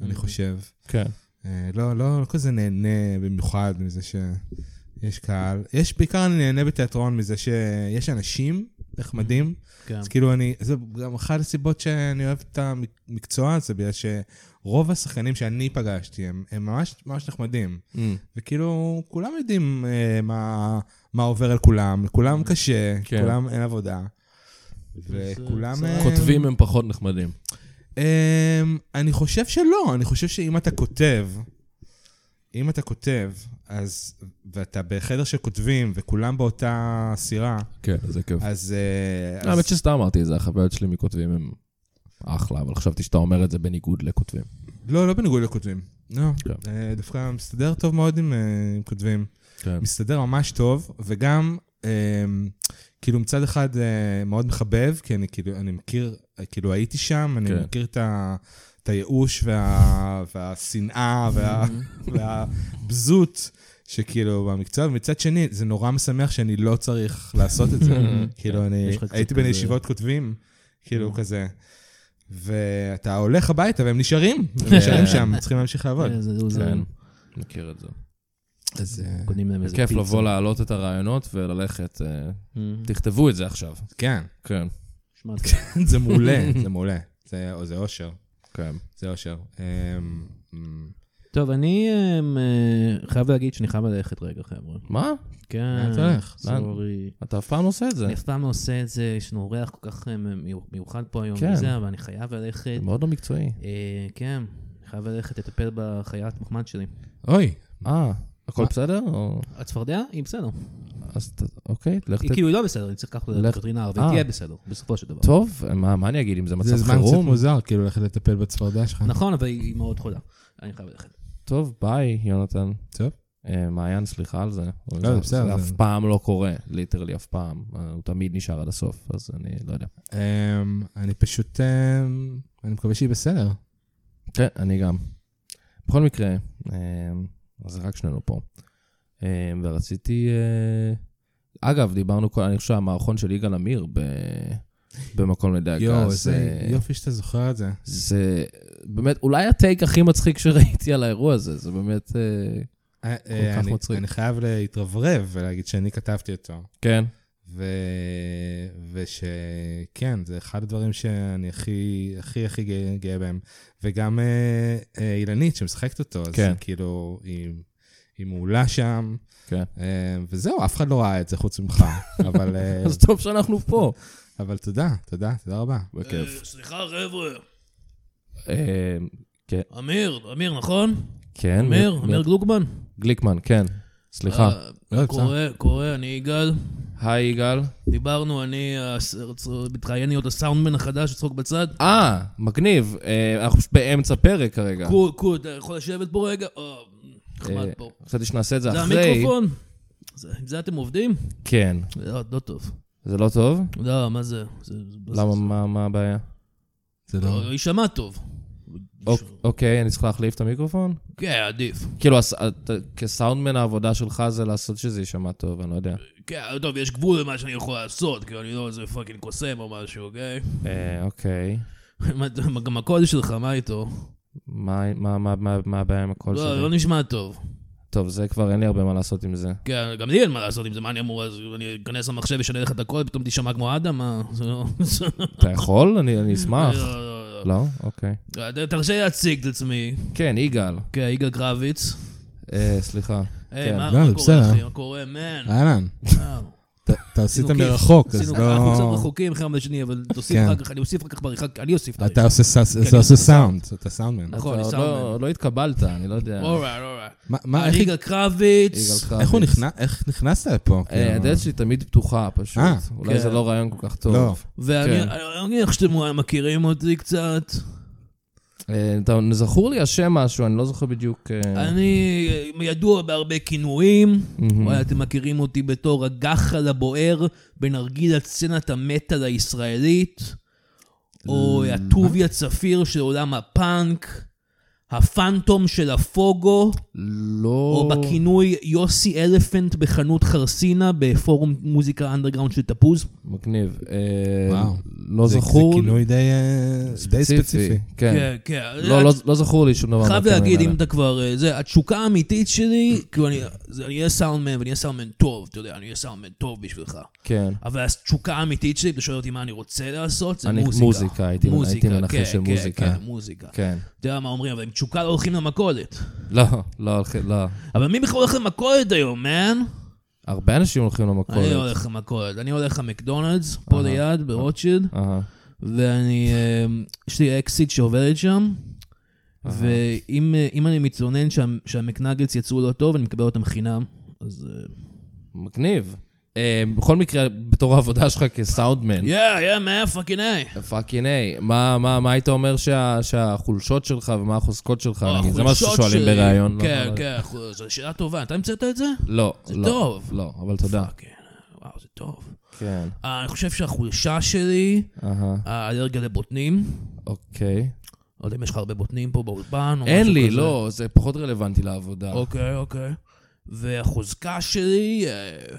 Speaker 4: אני חושב.
Speaker 2: כן.
Speaker 4: אה, לא, לא, לא כזה נהנה במיוחד מזה שיש קהל. יש, בעיקר אני נהנה בתיאטרון מזה שיש אנשים נחמדים.
Speaker 3: כן.
Speaker 4: אז כאילו אני, זה גם אחת הסיבות שאני אוהב את המקצוע הזה, בגלל שרוב השחקנים שאני פגשתי הם, הם ממש ממש נחמדים. וכאילו, כולם יודעים אה, מה, מה עובר על כולם, לכולם קשה,
Speaker 2: כן.
Speaker 4: כולם אין עבודה. וכולם... אה,
Speaker 2: כותבים הם פחות נחמדים.
Speaker 4: אמ, אני חושב שלא, אני חושב שאם אתה כותב, אם אתה כותב, אז, ואתה בחדר שכותבים, וכולם באותה סירה,
Speaker 2: כן, זה כיף.
Speaker 4: אז... אה, אז-
Speaker 2: לא, האמת שסתם אמרתי את זה, החוויות שלי מכותבים הם אחלה, אבל חשבתי שאתה אומר את זה בניגוד לכותבים.
Speaker 4: לא, לא בניגוד לכותבים. לא,
Speaker 2: כן.
Speaker 4: אה, דווקא מסתדר טוב מאוד עם אה, עם כותבים.
Speaker 2: כן.
Speaker 4: מסתדר ממש טוב, וגם, אה, כאילו מצד אחד אה, מאוד מחבב, כי אני כאילו, אני מכיר, אה, כאילו הייתי שם, אני
Speaker 2: כן.
Speaker 4: מכיר את ה... את הייאוש וה, והשנאה וה,
Speaker 6: Mm-hmm.
Speaker 4: והבזות שכאילו במקצוע, ומצד שני, זה נורא משמח שאני לא צריך לעשות את זה. כאילו, אני
Speaker 6: Mm-hmm. יש לך קצת
Speaker 4: הייתי בין
Speaker 6: כזה- Mm-hmm.
Speaker 4: ישיבות כותבים, כאילו כזה, ואתה הולך הביתה והם נשארים,
Speaker 6: כן.
Speaker 4: הם נשארים שם, צריכים להמשיך לעבוד.
Speaker 6: אה, זה- זה- זה-
Speaker 2: כן, מכיר את זה.
Speaker 4: אז אה,
Speaker 6: קונים להם איזה
Speaker 2: כיף
Speaker 6: פיצה.
Speaker 2: לבוא להעלות את הרעיונות וללכת, אה,
Speaker 6: אה,
Speaker 3: Mm.
Speaker 2: תכתבו את זה עכשיו.
Speaker 4: כן,
Speaker 2: כן,
Speaker 6: שמע, זה-
Speaker 4: זה מעולה, זה מעולה. זה זה אושר,
Speaker 2: כן.
Speaker 4: זה אושר. אמ, אמ,
Speaker 6: טוב, אני אמ, אה, חייב להגיד שאני חייב ללכת רגע, חבר'ה.
Speaker 2: מה?
Speaker 6: כן,
Speaker 4: לאן אתה הולך?
Speaker 6: סורי.
Speaker 2: אתה אף פעם לא עושה את זה.
Speaker 6: אני אף פעם לא עושה את זה, יש לנו אורח כל כך אה, מיו- מיוחד פה היום,
Speaker 2: כן.
Speaker 6: וזה, אבל אני חייב ללכת.
Speaker 2: זה מאוד לא מקצועי.
Speaker 6: אה, כן, אני חייב ללכת לטפל בחיית מחמד שלי.
Speaker 4: אוי,
Speaker 2: אה, הכל בסדר? או-
Speaker 6: הצפרדע היא בסדר.
Speaker 2: אז ת- אוקיי, לך
Speaker 6: היא
Speaker 2: ת...
Speaker 6: כאילו היא לא בסדר, אני צריך לקחת אותה
Speaker 2: לך-
Speaker 6: לווטרינר,
Speaker 2: אה.
Speaker 6: והיא תהיה בסדר, בסופו של דבר.
Speaker 2: טוב, מה מה אני אגיד אם זה
Speaker 4: זה
Speaker 2: מצב
Speaker 4: זמן קצת
Speaker 2: חירום?
Speaker 4: מוזר, כאילו ללכת לטפל בצפרדע שלך.
Speaker 6: נכון, אבל היא מאוד חולה. אני חייב ללכת.
Speaker 2: טוב, ביי, יונתן.
Speaker 4: טוב.
Speaker 2: אה, מעיין, סליחה על זה. אבל
Speaker 4: לא,
Speaker 2: זה-
Speaker 4: בסדר,
Speaker 2: זה
Speaker 4: זה-
Speaker 2: אף פעם לא קורה, ליטרלי אף פעם. אה, הוא תמיד נשאר עד הסוף, אז אני לא יודע.
Speaker 4: אמ, אני פשוט, אמ, אני מקווה שהיא בסדר.
Speaker 2: כן, אני גם. בכל מקרה, אה, אז רק שנינו פה. אה, ורציתי... אה, אגב, דיברנו, כל- אני חושב שהמערכון של יגאל עמיר ב... במקום לדאגה. אה,
Speaker 4: יואו,
Speaker 2: זה-
Speaker 4: איזה יופי שאתה זוכר את זה.
Speaker 2: זה באמת, אולי הטייק הכי מצחיק שראיתי על האירוע הזה, זה באמת... אה,
Speaker 4: אה, אה,
Speaker 2: כך
Speaker 4: אני-
Speaker 2: מצחיק.
Speaker 4: אני חייב להתרברב ולהגיד שאני כתבתי אותו.
Speaker 2: כן.
Speaker 4: ו... ושכן, זה אחד הדברים שאני הכי, הכי, הכי גאה, גאה בהם. וגם אה, אה, אילנית שמשחקת אותו, אז
Speaker 2: כן.
Speaker 4: כן. כאילו, היא, היא מעולה שם.
Speaker 2: כן.
Speaker 4: אה, וזהו, אף אחד לא ראה את זה חוץ ממך. אבל, אה,
Speaker 2: אז טוב שאנחנו פה.
Speaker 4: אבל תודה, תודה, תודה רבה.
Speaker 2: בכיף.
Speaker 3: אה, סליחה, חבר'ה.
Speaker 2: אה,
Speaker 3: אמיר, אמיר, נכון?
Speaker 2: כן.
Speaker 3: אמיר,
Speaker 2: מי-
Speaker 3: אמיר
Speaker 2: מי-
Speaker 3: גלוקמן.
Speaker 2: גליקמן, כן. סליחה.
Speaker 3: אה,
Speaker 4: לא, בסדר.
Speaker 3: קורא, קורא, אני יגאל.
Speaker 2: אה, היי, יגאל.
Speaker 3: דיברנו, אני הס- צ- מתראיין להיות הסאונדמן החדש, צחוק בצד.
Speaker 2: אה, מגניב. אה, אנחנו פשוט באמצע פרק כרגע.
Speaker 3: קור, קור, אתה יכול לשבת פה רגע? אה, נחמד
Speaker 2: אה,
Speaker 3: פה.
Speaker 2: חשבתי שנעשה את זה
Speaker 3: זה
Speaker 2: אחרי.
Speaker 3: המיקרופון? זה- עם זה אתם עובדים?
Speaker 2: כן.
Speaker 3: לא, לא טוב.
Speaker 2: זה לא טוב?
Speaker 3: לא, מה זה? זה- לא זה-
Speaker 2: למה, מה- מה הבעיה?
Speaker 4: זה
Speaker 3: זה-
Speaker 4: לא...
Speaker 3: לא, יישמע טוב.
Speaker 2: אוק- אוקיי, אני צריך להחליף את המיקרופון?
Speaker 3: כן, עדיף.
Speaker 2: כאילו, הס- את- כסאונדמן העבודה שלך זה לעשות שזה יישמע טוב, אני לא יודע.
Speaker 3: כן, טוב, יש גבול למה שאני יכול לעשות, כאילו, אני לא איזה פאקינג קוסם או משהו, אוקיי?
Speaker 2: אה, אוקיי.
Speaker 3: מה- מה- גם הקול שלך, מה איתו?
Speaker 2: מה- מה- מה- מה מה הבעיה עם הקול
Speaker 3: לא,
Speaker 2: שלי?
Speaker 3: לא נשמע טוב.
Speaker 2: טוב, זה כבר אין לי הרבה מה לעשות עם זה.
Speaker 3: כן, גם לי אין מה לעשות עם זה, מה אני אמור, אז אני אכנס למחשב, אשנה לך את הקול, פתאום תישמע כמו אדם, מה? זה לא... זה לא-
Speaker 2: אתה יכול? אני אני אשמח.
Speaker 3: לא, לא,
Speaker 2: לא? אוקיי.
Speaker 3: לא. ת- תרשה לי להציג את עצמי.
Speaker 2: כן, יגאל.
Speaker 3: כן, יגאל קרביץ.
Speaker 2: אה, סליחה.
Speaker 3: היי,
Speaker 2: כן. אה.
Speaker 3: מה
Speaker 4: לא,
Speaker 3: מה
Speaker 4: זה
Speaker 3: קורה,
Speaker 4: בסדר.
Speaker 3: אחי? מה קורה, מן?
Speaker 4: אהלן,
Speaker 3: וואו.
Speaker 4: ת- אתה עשית
Speaker 3: עשינו כיף.
Speaker 4: מרחוק, אז
Speaker 3: עשינו ככה, אנחנו קצת
Speaker 4: לא...
Speaker 3: רחוקים אחד מהשני, אבל תוסיף
Speaker 4: כן.
Speaker 3: אחר כך, אני אוסיף אחר כך בעריכה, אני אוסיף את
Speaker 4: אתה
Speaker 3: העריכה.
Speaker 4: עושה סאס-
Speaker 3: כן,
Speaker 4: אתה
Speaker 3: אני
Speaker 4: עושה סאונד, אתה סאונדמן.
Speaker 3: נכון, אני
Speaker 2: אתה עוד
Speaker 3: סאונדמן.
Speaker 2: לא- עוד לא התקבלת, אני לא יודע.
Speaker 3: אורייט, אורייט.
Speaker 4: מה- מה, איך
Speaker 3: אני יגאל קרביץ.
Speaker 2: יגאל
Speaker 4: איך הוא
Speaker 2: קרביץ.
Speaker 4: נכנס- איך נכנסת לפה? כאילו?
Speaker 2: אה, הדלת שלי תמיד פתוחה, פשוט.
Speaker 4: אה,
Speaker 2: אולי זה
Speaker 3: כן.
Speaker 2: לא רעיון כל כך
Speaker 4: לא.
Speaker 2: טוב.
Speaker 3: ואני
Speaker 2: כן.
Speaker 3: אני מניח שאתם מכירים אותי קצת.
Speaker 2: אה, אתה- זכור לי השם משהו, אני לא זוכר בדיוק.
Speaker 4: כן.
Speaker 2: אה,
Speaker 3: אני ידוע בהרבה כינויים.
Speaker 2: מהמם.
Speaker 3: וואלה, אתם מכירים אותי בתור הגחל הבוער בנרגילת סצנת המטאל הישראלית,
Speaker 4: אה,
Speaker 3: או הטוביה צפיר של עולם הפאנק, הפאנטום של הפוגו,
Speaker 2: לא...
Speaker 3: או בכינוי יוסי אלפנט בחנות חרסינה בפורום מוזיקה אנדרגראונד של תפוז.
Speaker 2: כן. מגניב. אה,
Speaker 4: וואו.
Speaker 2: לא
Speaker 4: זה-
Speaker 2: זכור.
Speaker 4: זה כינוי די אה, די ספציפי.
Speaker 2: כן.
Speaker 3: כן.
Speaker 2: לא, לא- לא זכור לי שום דבר.
Speaker 3: חייב
Speaker 2: מהדברים
Speaker 3: להגיד,
Speaker 2: האלה.
Speaker 3: אם אתה כבר... אה, זה, התשוקה האמיתית שלי, כאילו אני זה- אני אהיה סאונדמן, ואני אהיה סאונדמן טוב, אתה יודע, אני אהיה סאונדמן טוב בשבילך.
Speaker 2: כן.
Speaker 3: אבל התשוקה האמיתית שלי, אתה שואל אותי מה אני רוצה לעשות, זה
Speaker 2: אני-
Speaker 3: מוזיקה.
Speaker 2: מוזיקה, הייתי- הייתי מנחש
Speaker 3: כן,
Speaker 2: של
Speaker 3: כן,
Speaker 2: מוזיקה.
Speaker 3: כן, מוזיקה.
Speaker 2: כן.
Speaker 3: אתה יודע מה אומרים, אבל עם תשוקה לא הולכים למכולת.
Speaker 2: לא, לא, הולכים- לא.
Speaker 3: אבל מי בכלל הולך למכולת היום, מן?
Speaker 2: הרבה אנשים הולכים למכולת.
Speaker 3: אני הולך למכולת. אני הולך למקדונלדס, פה
Speaker 2: אהה. אה,
Speaker 3: ליד, ברוטשילד,
Speaker 2: אהה.
Speaker 3: ואני, אה, יש לי אקסיט שעובדת שם, ואם אה, אם אני מתלונן שה- שהמקנגלס יצאו לא טוב, אני מקבל אותם חינם. אז... אה,
Speaker 2: מגניב. אה, בכל מקרה, בתור העבודה שלך כסאונדמן,
Speaker 3: יא, יא, מה פאקינג איי.
Speaker 2: פאקינג איי, מה- מה מה היית אומר שה- שהחולשות שלך ומה החוזקות שלך? נגיד, לא, זה מה ששואלים בריאיון. לא?
Speaker 3: כן,
Speaker 2: אבל-
Speaker 3: כן, אחוז, זו שאלה טובה. אתה המצאת את זה?
Speaker 2: לא,
Speaker 3: זה
Speaker 2: לא,
Speaker 3: טוב.
Speaker 2: לא, אבל תודה.
Speaker 3: פאקינג, וואו, זה טוב.
Speaker 2: כן.
Speaker 3: אה, אני חושב שהחולשה שלי,
Speaker 2: אהה,
Speaker 3: האלרגיה לבוטנים.
Speaker 2: אוקיי.
Speaker 3: לא יודע אם יש לך הרבה בוטנים פה באולפן או
Speaker 2: אין
Speaker 3: משהו
Speaker 2: לי,
Speaker 3: כזה.
Speaker 2: לא, זה פחות רלוונטי לעבודה.
Speaker 3: אוקיי, אוקיי. והחוזקה שלי, אה,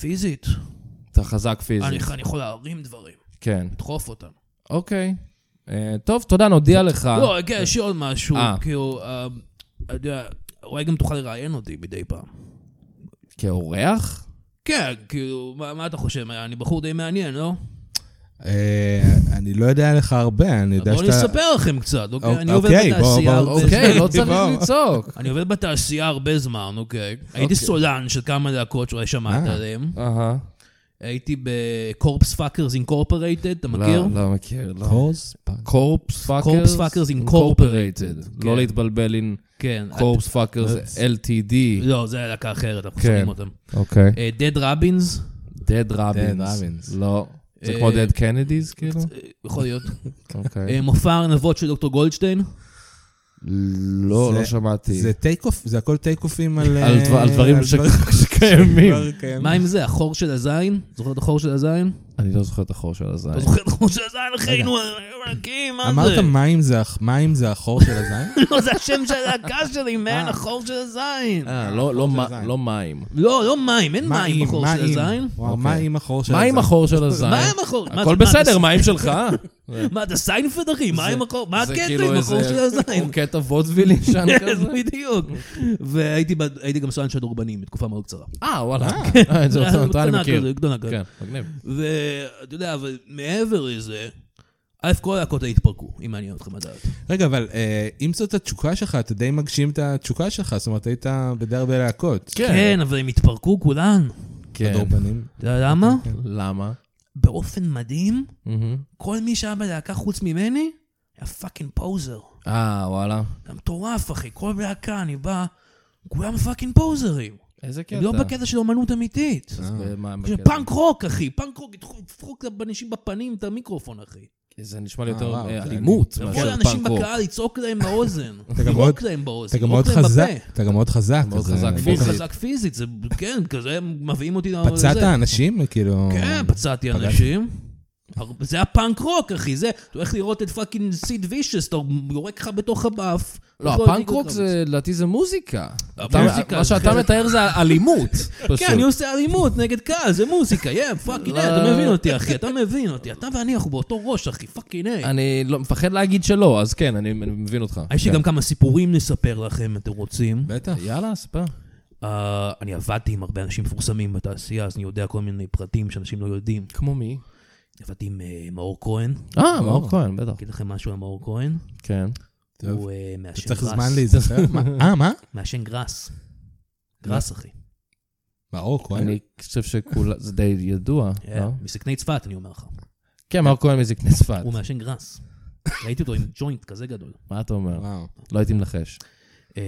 Speaker 3: פיזית.
Speaker 2: אתה חזק
Speaker 3: אני
Speaker 2: פיזית.
Speaker 3: אני יכול להרים דברים,
Speaker 2: כן.
Speaker 3: לדחוף אותם.
Speaker 2: אוקיי. אה, טוב, תודה, נודיע לך.
Speaker 3: לא, רגע, יש לי עוד משהו,
Speaker 2: אה.
Speaker 3: כאילו, אה, אתה יודע, אולי גם תוכל לראיין אותי מדי פעם.
Speaker 2: כאורח?
Speaker 3: כן, כאילו, מה מה אתה חושב? אני בחור די מעניין, לא?
Speaker 4: אה, אני לא יודע לך הרבה, אני יודע
Speaker 3: בואו
Speaker 4: שאתה...
Speaker 3: אני אספר לכם קצת, אוקיי?
Speaker 4: אוקיי,
Speaker 3: אני עובד
Speaker 4: בוא, בוא,
Speaker 3: בתעשייה הרבה
Speaker 2: אוקיי, לא
Speaker 3: זמן.
Speaker 2: צריך
Speaker 4: בוא.
Speaker 2: לצעוק.
Speaker 3: אני עובד בתעשייה הרבה זמן, אוקיי? הייתי סולן של כמה להקות שאולי שמעת
Speaker 4: אה.
Speaker 3: עליהם.
Speaker 2: אהה.
Speaker 3: הייתי בקורפס פאקרס אינקורפרייטד, אתה מכיר?
Speaker 2: לא, לא מכיר, לא.
Speaker 4: קורס?
Speaker 2: קורפס פאקרס?
Speaker 3: Corpse Fuckers Incorporated.
Speaker 2: לא
Speaker 3: כן.
Speaker 2: להתבלבל עם
Speaker 3: כן.
Speaker 2: קורפס פאקרס LTD.
Speaker 3: לא, זה היה להקה אחרת, אנחנו
Speaker 2: כן.
Speaker 3: שומעים אותם. אה,
Speaker 2: אוקיי.
Speaker 3: דד רבינס,
Speaker 2: Dead
Speaker 4: Robins.
Speaker 2: Robins. לא. זה
Speaker 3: אה,
Speaker 2: כמו Dead Kennedys, כאילו?
Speaker 3: יכול להיות.
Speaker 2: אוקיי.
Speaker 3: אה, מופע הארנבות של דוקטור גולדשטיין.
Speaker 2: לא,
Speaker 4: זה-
Speaker 2: לא שמעתי.
Speaker 4: זה טייק אוף, זה הכל טייק אופים על...
Speaker 2: על דבר- אה, על דברים ש- שקיימים.
Speaker 3: מה עם זה, החור של הזין? זוכר את החור של הזין?
Speaker 2: אני לא זוכר את החור של הזין.
Speaker 3: אתה זוכר את החור של הזין, אחינו ענקים, מה זה?
Speaker 4: אמרת מים זה הח- מים זה החור של הזין?
Speaker 3: לא, זה השם של הלהקה שלי, מן, החור של הזין.
Speaker 2: אה, לא- לא מ-
Speaker 4: הזין.
Speaker 2: לא מים.
Speaker 3: לא, לא מים, אין מים בחור של הזין.
Speaker 4: וואו,
Speaker 2: אוקיי.
Speaker 4: מה עם החור של
Speaker 2: מה
Speaker 4: הזין?
Speaker 2: עם החור של הזין?
Speaker 3: מה עם החור? מה
Speaker 2: אה. הכל
Speaker 3: אתה- מה,
Speaker 2: בסדר,
Speaker 3: אתה-
Speaker 2: מה עם שלך?
Speaker 3: מה, אתה סיינפלד, אחי? מה עם החור? מה
Speaker 2: זה
Speaker 3: הקטע
Speaker 2: כאילו
Speaker 3: עם החור
Speaker 2: איזה
Speaker 3: של הזין?
Speaker 2: קטע וודווילי שם כזה?
Speaker 3: כן, בדיוק. והייתי ב- הייתי גם סולן של דורבנים בתקופה מאוד קצרה.
Speaker 2: אה, וואלה. אה, את זה אותה אני
Speaker 3: קטנה
Speaker 2: מכיר.
Speaker 3: כזה, גדולה כזה.
Speaker 2: כן, מגניב.
Speaker 3: ואתה יודע, אבל מעבר לזה, א', כל הלהקות האלה התפרקו, אם מעניין אתכם לדעת.
Speaker 4: רגע, אבל אה, אם זאת התשוקה שלך, אתה די מגשים את התשוקה שלך, זאת אומרת, היית בדי הרבה להקות.
Speaker 3: כן, אבל הם התפרקו כולן.
Speaker 2: כן.
Speaker 4: הדורבנים.
Speaker 3: אתה יודע למה?
Speaker 4: אוקיי.
Speaker 2: למה?
Speaker 3: באופן מדהים,
Speaker 2: מהמם.
Speaker 3: כל מי שהיה בלהקה חוץ ממני, היה פאקינג פוזר.
Speaker 2: אה, וואלה.
Speaker 3: אתה מטורף, אחי. כל להקה, אני בא, כולם פאקינג פוזרים.
Speaker 2: איזה
Speaker 4: כן,
Speaker 2: קטע.
Speaker 3: הם לא בקטע של אומנות אמיתית.
Speaker 4: אה,
Speaker 2: אז במה הם
Speaker 3: של
Speaker 2: בקטע?
Speaker 3: פאנק רוק, אחי. פאנק רוק, ידפחו לאנשים בפנים את המיקרופון, אחי.
Speaker 2: זה נשמע לי יותר
Speaker 4: אה, וואו,
Speaker 2: אה,
Speaker 4: זה
Speaker 2: אלימות
Speaker 3: לבוא
Speaker 2: מאשר
Speaker 3: לאנשים
Speaker 2: פאנק רוק.
Speaker 3: בקהל, לצעוק להם באוזן.
Speaker 4: גם
Speaker 3: לרוק
Speaker 4: מאוד-
Speaker 3: להם באוזן.
Speaker 4: אתה גם מאוד
Speaker 3: לרוק להם
Speaker 4: חזק,
Speaker 3: בפה.
Speaker 4: אתה גם מאוד חזק.
Speaker 2: מאוד
Speaker 4: כזה.
Speaker 2: חזק
Speaker 3: מאוד
Speaker 2: פיזית.
Speaker 3: חזק פיזית, זה כן, כזה הם מביאים אותי... ל-
Speaker 4: פצעת
Speaker 3: זה.
Speaker 4: אנשים, כאילו...
Speaker 3: כן, פצעתי
Speaker 4: פגעת.
Speaker 3: אנשים. הר- זה היה פאנק רוק, אחי, זה, אתה הולך לראות את פאקינג סיד וישס, אתה יורק לך בתוך הבאף.
Speaker 2: לא,
Speaker 3: הכל
Speaker 2: הפאנק
Speaker 3: ליגה
Speaker 2: רוק
Speaker 3: קרבית.
Speaker 2: זה, לדעתי זה מוזיקה. אתה-
Speaker 3: המוזיקה
Speaker 2: מה
Speaker 3: זה
Speaker 2: שאתה
Speaker 3: חלק-
Speaker 2: מתאר זה אלימות, פשוט.
Speaker 3: כן, אני עושה אלימות נגד קהל, זה מוזיקה, יא, פאקינג,
Speaker 2: לא.
Speaker 3: אתה מבין אותי, אחי, אתה מבין אותי, אתה ואני, אנחנו באותו ראש, אחי, פאקינג, איי.
Speaker 2: אני לא- מפחד להגיד שלא, אז כן, אני אני מבין אותך.
Speaker 3: יש לי
Speaker 2: כן.
Speaker 3: גם כמה סיפורים לספר לכם, אם אתם רוצים.
Speaker 4: בטח.
Speaker 2: יאללה, ספר.
Speaker 3: אה, אני עבדתי עם הרבה אנשים מפורסמים בתעשייה, אז אני יודע כל מיני פרטים שאנשים לא יודעים.
Speaker 2: כמו מי?
Speaker 3: עבדתי עם אה, מאור כהן,
Speaker 2: אה, מאור כהן, בטח.
Speaker 3: אגיד לכם משהו על מאור כהן,
Speaker 2: כן.
Speaker 4: טוב.
Speaker 3: הוא אה, מעשן
Speaker 4: צריך
Speaker 3: גראס.
Speaker 4: זמן להיזכר. מה- אה, מה?
Speaker 3: מעשן
Speaker 2: לא.
Speaker 3: גראס. גראס, אחי.
Speaker 4: מאור כהן.
Speaker 2: אני חושב שכולם, זה די ידוע,
Speaker 3: כן,
Speaker 2: לא?
Speaker 3: מזקני צפת, אני אומר לך.
Speaker 2: כן, מאור כהן מזקני צפת.
Speaker 3: הוא מעשן גראס. ראיתי אותו עם ג'וינט כזה גדול.
Speaker 2: מה אתה אומר?
Speaker 4: וואו.
Speaker 2: לא הייתי מנחש.
Speaker 3: אה,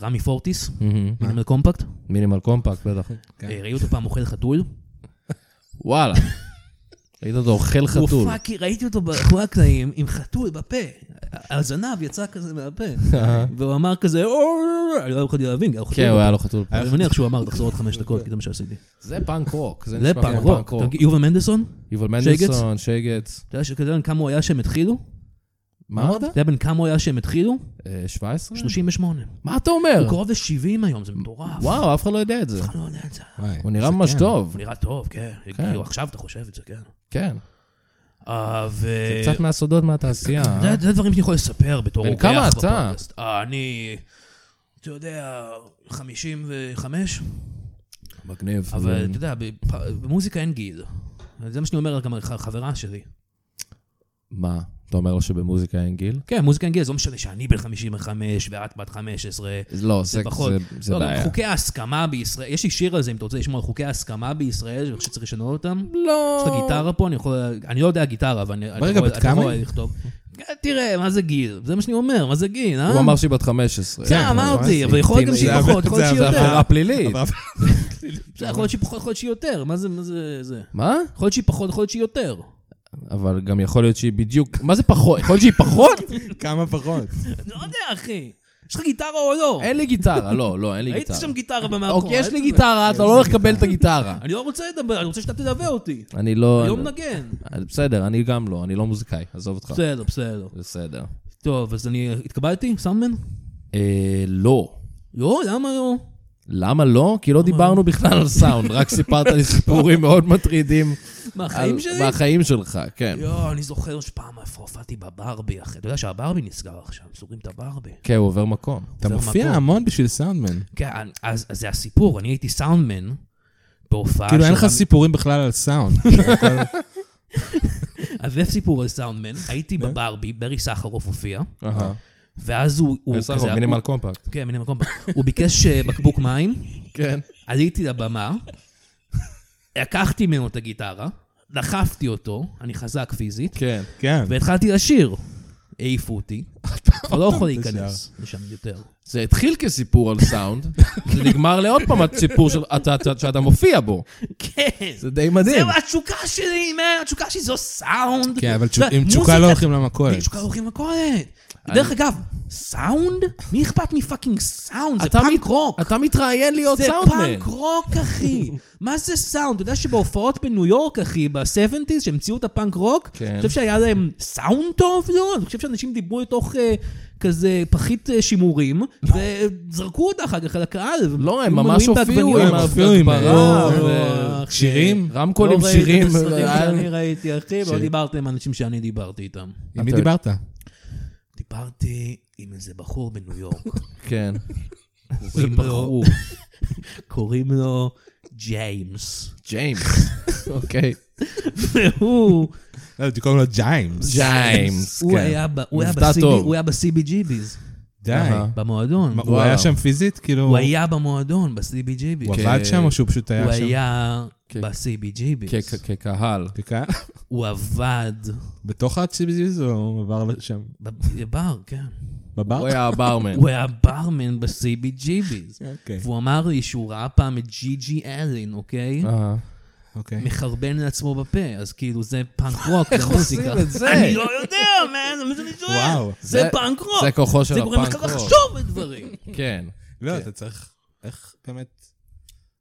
Speaker 3: רמי פורטיס,
Speaker 2: מהמם.
Speaker 3: מינימל קומפקט.
Speaker 2: מינימל קומפקט, בטח.
Speaker 4: כן.
Speaker 3: אה, ראיתי אותו פעם אוכל חתול.
Speaker 2: וואלה. ראית אותו אוכל
Speaker 3: הוא
Speaker 2: חתול.
Speaker 3: פאקי, ראיתי אותו באחורי הקלעים עם חתול בפה. הזנב יצא כזה מהפה. והוא אמר כזה, "אור", אני לא יכולתי להבין, גם חתול.
Speaker 2: כן, הוא היה לו חתול.
Speaker 3: אני מניח שהוא אמר, תחזור עוד חמש דקות, כי זה מה שעשיתי.
Speaker 2: זה פאנק רוק.
Speaker 3: זה
Speaker 2: נשמע
Speaker 3: פאנק
Speaker 2: כמו
Speaker 3: רוק. אתה מכיר- יובל מנדלסון,
Speaker 2: יובל
Speaker 3: שייגץ?
Speaker 2: מנדלסון, שייגץ.
Speaker 3: אתה יודע שכזה כמה הוא היה שהם התחילו?
Speaker 2: מה אמרת?
Speaker 3: אתה יודע בן כמה הוא היה שהם התחילו?
Speaker 2: אה, 17?
Speaker 3: 38.
Speaker 2: מה אתה אומר?
Speaker 3: הוא קרוב ל-70 היום, זה מטורף.
Speaker 2: אה. וואו, אף אחד לא יודע את זה.
Speaker 3: אתה לא יודע את זה.
Speaker 4: וואי.
Speaker 2: הוא נראה
Speaker 4: זה
Speaker 2: ממש
Speaker 4: כן.
Speaker 2: טוב.
Speaker 3: הוא נראה טוב, כן. כאילו, עכשיו אתה חושב את זה, כן.
Speaker 2: כן.
Speaker 3: אה, ו...
Speaker 2: קצת מהסודות מהתעשייה. אה?
Speaker 3: זה- זה דברים שאני יכול לספר בתור
Speaker 2: בן
Speaker 3: אורח
Speaker 2: כמה אתה?
Speaker 3: בפודקאסט. אה, אני, אתה יודע, 55,
Speaker 2: מגניב.
Speaker 3: אבל אתה יודע, בפ- במוזיקה אין גיל. זה מה שאני אומר גם על ח- חברה שלי.
Speaker 2: מה? אתה אומר לו שבמוזיקה אין גיל?
Speaker 3: כן, מוזיקה אנגלית, זה לא משנה שאני בן 55 ואת בת 15.
Speaker 2: לא, זה,
Speaker 3: פחות.
Speaker 2: זה, זה
Speaker 3: לא, גם
Speaker 2: בעיה.
Speaker 3: חוקי ההסכמה בישראל, יש לי שיר על זה, אם אתה רוצה לשמוע על חוקי ההסכמה בישראל, שאני חושב שצריך לשנות אותם.
Speaker 2: לא.
Speaker 3: יש לך גיטרה פה, אני יכול... אני לא יודע גיטרה, אבל אני אני
Speaker 4: רגע,
Speaker 3: יכול
Speaker 4: בת
Speaker 3: אתה
Speaker 4: כמה
Speaker 3: יכול
Speaker 4: היא?
Speaker 3: לכתוב. תראה, מה זה גיל? זה מה שאני אומר, מה זה גיל, אה?
Speaker 2: הוא אמר שהיא בת 15.
Speaker 3: כן, אמרתי,
Speaker 4: ממש.
Speaker 3: אבל יכול להיות גם שהיא
Speaker 4: זה
Speaker 3: פחות,
Speaker 4: עבירה-
Speaker 3: יכול להיות
Speaker 4: זה
Speaker 3: שהיא
Speaker 2: זה
Speaker 3: יותר.
Speaker 2: עבירה פלילית.
Speaker 4: אבל-
Speaker 3: זה יכול להיות שהיא פחות, יכול להיות שהיא יותר. מה זה, מה זה, זה?
Speaker 2: מה?
Speaker 3: יכול להיות שהיא פחות, יכול להיות שהיא יותר.
Speaker 2: אבל גם יכול להיות שהיא בדיוק... מה זה פחות? יכול להיות שהיא פחות?
Speaker 4: כמה פחות?
Speaker 3: אני לא יודע, אחי. יש לך גיטרה או לא?
Speaker 2: אין לי גיטרה, לא, לא, אין לי
Speaker 3: הייתי
Speaker 2: גיטרה.
Speaker 3: שם גיטרה במאקו.
Speaker 2: אוקיי, יש לי גיטרה, אתה לא הולך לקבל את הגיטרה.
Speaker 3: אני לא רוצה לדבר, אני רוצה שאתה תלווה אותי.
Speaker 2: אני לא...
Speaker 3: אני לא מנגן.
Speaker 2: בסדר, אני גם לא, אני לא מוזיקאי, עזוב אותך.
Speaker 3: בסדר, בסדר.
Speaker 2: בסדר.
Speaker 3: טוב, אז אני התקבלתי, סאונדמן?
Speaker 2: אה, לא.
Speaker 3: לא, למה לא?
Speaker 2: למה לא? כי לא דיברנו בכלל על סאונד, רק סיפרת לי סיפורים מאוד מטרידים.
Speaker 3: מהחיים
Speaker 2: על-
Speaker 3: שלי?
Speaker 2: מהחיים שלך, כן.
Speaker 3: יואו, אני זוכר שפעם איפה הופעתי בברבי, אחי. אתה יודע שהברבי נסגר עכשיו, סוגרים את הברבי.
Speaker 2: כן, הוא עובר מקום.
Speaker 4: אתה
Speaker 3: זה
Speaker 4: מופיע
Speaker 3: המקום.
Speaker 4: המון בשביל סאונדמן.
Speaker 3: כן, אז אז זה הסיפור, אני הייתי סאונדמן בהופעה
Speaker 4: כאילו, אין
Speaker 3: של
Speaker 4: לך
Speaker 3: רמ-
Speaker 4: סיפורים בכלל על סאונד. הכל-
Speaker 3: אז זה סיפור על סאונדמן, הייתי בברבי, ברי סחרוף הופיע,
Speaker 2: אהה.
Speaker 3: ואז הוא... הוא
Speaker 2: בסדר,
Speaker 3: כזה-
Speaker 2: מינימל קומפקט.
Speaker 3: הוא- כן, מינימל קומפקט. הוא ביקש אה, בקבוק מים,
Speaker 2: כן.
Speaker 3: עליתי לבמה, לקחתי ממנו את הגיטרה, דחפתי אותו, אני חזק פיזית,
Speaker 2: כן.
Speaker 4: כן.
Speaker 3: והתחלתי לשיר. העיפו אותי, כבר לא יכול להיכנס לשם יותר.
Speaker 2: זה התחיל כסיפור על סאונד, זה נגמר לעוד פעם סיפור שאתה מופיע בו.
Speaker 3: כן,
Speaker 2: זה די מדהים.
Speaker 3: זהו, התשוקה שלי, מן, התשוקה שלי זו סאונד.
Speaker 4: כן, אבל תשוק-
Speaker 3: אתה יודע,
Speaker 4: עם תשוקה לא
Speaker 3: מוזיקה-
Speaker 4: הולכים למכולת.
Speaker 3: עם תשוקה לא הולכים מכולת. דרך אגב, סאונד? מי אכפת מפאקינג סאונד? זה
Speaker 2: אתה
Speaker 3: פאנק
Speaker 2: מת-
Speaker 3: רוק.
Speaker 2: אתה מתראיין
Speaker 4: לא
Speaker 2: להיות
Speaker 3: זה
Speaker 2: סאונדמן.
Speaker 3: פאנק רוק, אחי. מה זה סאונד? אתה יודע שבהופעות בניו יורק, אחי, ב-70's, שהמציאו את הפאנק רוק,
Speaker 2: כן.
Speaker 3: אני חושב שהיה להם סאונד טוב? לא, אני חושב שאנשים דיברו לתוך אה, כזה פחית אה, שימורים, וזרקו אותה אחר כך על הקהל.
Speaker 2: לא, הם
Speaker 3: היו
Speaker 2: ממש
Speaker 3: מלאים
Speaker 2: הופיעו
Speaker 3: בעגבניות.
Speaker 2: עם
Speaker 4: הם הופיעו עם-
Speaker 2: הגברה.
Speaker 3: לא,
Speaker 2: ו-
Speaker 3: אחי.
Speaker 4: אה, שירים?
Speaker 2: רמקולים,
Speaker 3: לא ראיתי
Speaker 2: שירים. אה,
Speaker 3: את הסרטים
Speaker 2: היה-
Speaker 3: שאני ראיתי, אחי, ולא דיברתי עם אנשים שאני דיברתי איתם.
Speaker 4: עם מי
Speaker 2: אתה-
Speaker 4: דיברת?
Speaker 3: דיברתי עם איזה בחור בניו יורק.
Speaker 2: כן.
Speaker 3: קוראים לו... קוראים לו ג'יימס.
Speaker 2: ג'יימס. אוקיי.
Speaker 3: והוא
Speaker 4: לא, הייתי קוראים לו ג'יימס.
Speaker 2: ג'יימס.
Speaker 3: הוא
Speaker 2: כן.
Speaker 3: היה ב- הוא היה
Speaker 2: עובדה
Speaker 3: ב-CB
Speaker 2: טוב.
Speaker 3: הוא היה ב-CBGB's,
Speaker 4: די.
Speaker 2: אהה.
Speaker 3: במועדון.
Speaker 4: מה, הוא
Speaker 2: וואלה.
Speaker 4: היה שם פיזית? כאילו...
Speaker 3: הוא היה במועדון, ב-CBGB's.
Speaker 4: הוא
Speaker 2: כ-
Speaker 4: עבד שם או שהוא פשוט היה
Speaker 3: הוא
Speaker 4: שם?
Speaker 3: היה
Speaker 2: כן.
Speaker 3: ב-CBGB's.
Speaker 2: כ- כ- כקהל.
Speaker 3: אה?
Speaker 4: בדיקה?
Speaker 3: הוא עבד
Speaker 4: בתוך ה-CBG's או עבר לשם?
Speaker 3: בבר, כן.
Speaker 4: בבר?
Speaker 2: הוא היה הברמן.
Speaker 3: הוא היה ברמן ב-CBGB's.
Speaker 4: אוקיי.
Speaker 3: והוא אמר לי שהוא ראה פעם את ג'י ג'י אלן, אוקיי?
Speaker 2: אהה.
Speaker 4: אוקיי.
Speaker 3: מחרבן לעצמו בפה, אז כאילו זה פאנק רוק, זה מוזיקה.
Speaker 2: עושים את זה?
Speaker 3: אני לא יודע, מן, זה מה שאני שואל.
Speaker 4: וואו.
Speaker 3: זה
Speaker 2: זה-
Speaker 3: פאנק רוק.
Speaker 2: זה כוחו של
Speaker 3: זה גורם לך
Speaker 2: הפאנק רוק.
Speaker 3: לחשוב על דברים.
Speaker 2: כן.
Speaker 4: לא, אתה צריך... איך באמת...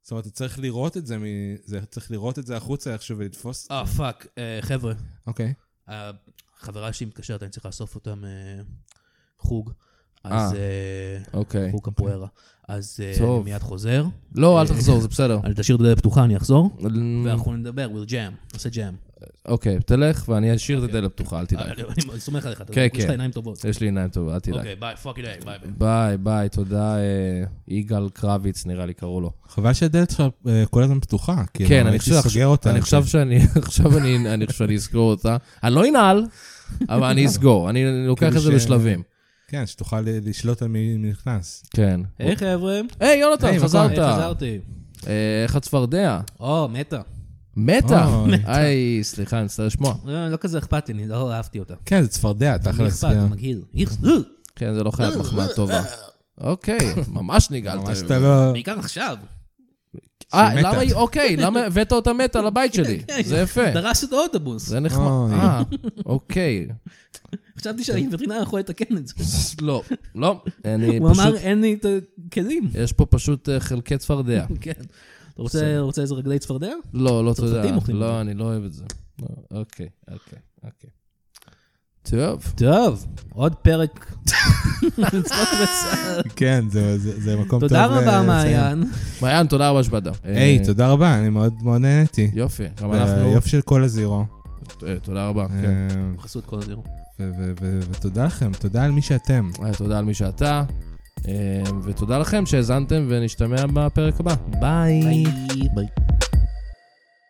Speaker 4: זאת אומרת, אתה צריך לראות את זה מ... זה- צריך לראות את זה החוצה איכשהו ולתפוס...
Speaker 3: אה, פאק, אה, חבר'ה,
Speaker 4: אוקיי.
Speaker 3: החברה שלי מתקשרת, אני צריך לאסוף אותם אה, חוג. אז
Speaker 2: אה.
Speaker 3: אה,
Speaker 2: אוקיי.
Speaker 3: חוג קפוארה. אז אה,
Speaker 2: טוב.
Speaker 3: אני מיד חוזר.
Speaker 2: לא, אל תחזור, זה בסדר.
Speaker 3: אני תשאיר את הדלת פתוחה, אני אחזור.
Speaker 2: Mm.
Speaker 3: ואנחנו נדבר, we'll jam, נעשה jam. אה,
Speaker 2: אוקיי, תלך ואני אשאיר
Speaker 3: אוקיי.
Speaker 2: את הדלת פתוחה, אל תדאג.
Speaker 3: אני אני סומך עליך, אתה
Speaker 2: כן,
Speaker 3: יודע, יש
Speaker 2: כן.
Speaker 3: לך עיניים טובות.
Speaker 2: יש לי עיניים טובות, אל תדאג.
Speaker 3: אוקיי, ביי, פאק איי, ביי ביי.
Speaker 2: ביי, ביי, תודה, אה, יגאל קרביץ, נראה לי קראו לו.
Speaker 4: חבל שהדלת שלך אה, כל הזמן פתוחה. כאילו,
Speaker 2: כן, אני
Speaker 4: כן,
Speaker 2: חושב
Speaker 4: הייתי סוגר אותה. אוקיי.
Speaker 2: אני חושב שאני, עכשיו אני, אני חושב שאני אסגור אותה. אני לא אנעל, אבל אני אסגור, אני לוקח
Speaker 4: כאילו
Speaker 2: את זה
Speaker 4: ש-
Speaker 2: בשלבים.
Speaker 4: כן, שתוכל ל- לשלוט על מי מי נכנס.
Speaker 2: כן.
Speaker 3: היי חבר'ה,
Speaker 2: היי, יונתן,
Speaker 4: היי, מה
Speaker 2: חזרת.
Speaker 3: היי, חזרתי.
Speaker 2: אה, איך הצפרדע?
Speaker 3: או, מתה.
Speaker 2: מתה.
Speaker 4: אוי.
Speaker 2: היי, סליחה, אני מצטער לשמוע.
Speaker 3: לא לא כזה אכפת לי, אני לא אהבתי אותה.
Speaker 4: כן, זה צפרדע, כן. אתה יכול
Speaker 3: מי אכפת?
Speaker 4: להצביע.
Speaker 3: זה מגעיל. איך- אה,
Speaker 2: כן, זה לא חייב מחמאה טובה. אוקיי, ממש נגעלת.
Speaker 4: ממש אתה לא...
Speaker 3: בעיקר עכשיו.
Speaker 2: אה,
Speaker 4: שהיא מתה.
Speaker 2: למה היא, אוקיי, למה הבאת אותה מתה לבית שלי? זה יפה.
Speaker 3: כן, דרס את האוטובוס.
Speaker 2: זה נחמד.
Speaker 4: אוי.
Speaker 2: אה, אוקיי.
Speaker 3: חשבתי שהווטרינר יכול לתקן את זה.
Speaker 2: לא, לא. אני
Speaker 3: הוא אמר,
Speaker 2: פשוט,
Speaker 3: אין לי את הכלים.
Speaker 2: יש פה פשוט אה, חלקי צפרדע.
Speaker 3: כן. אתה רוצה- רוצה איזה רגלי צפרדע?
Speaker 2: לא, לא תודה.
Speaker 3: צרפתים אוכלים את
Speaker 2: לא,
Speaker 3: זה.
Speaker 2: אני לא אוהב את זה. לא, אוקיי, אוקיי, אוקיי. טוב.
Speaker 3: טוב, עוד פרק. מצוות בצד.
Speaker 4: כן, זה- זה זה מקום טוב.
Speaker 3: תודה רבה,
Speaker 4: לסיים.
Speaker 3: מעיין.
Speaker 2: מעיין, תודה רבה שבאת.
Speaker 4: היי,
Speaker 2: אה,
Speaker 4: תודה אה, רבה, אני מאוד מאוד נהניתי.
Speaker 2: יופי, גם
Speaker 4: זה
Speaker 2: אנחנו...
Speaker 4: היופי של כל הזירו.
Speaker 2: אה, תודה רבה. כן.
Speaker 4: אה,
Speaker 3: בחסות כל הזירו.
Speaker 4: ו- ו- ו- ותודה לכם, תודה על מי שאתם.
Speaker 2: אה, תודה על מי שאתה, אה, ותודה לכם שהאזנתם, ונשתמע בפרק הבא.
Speaker 3: ביי.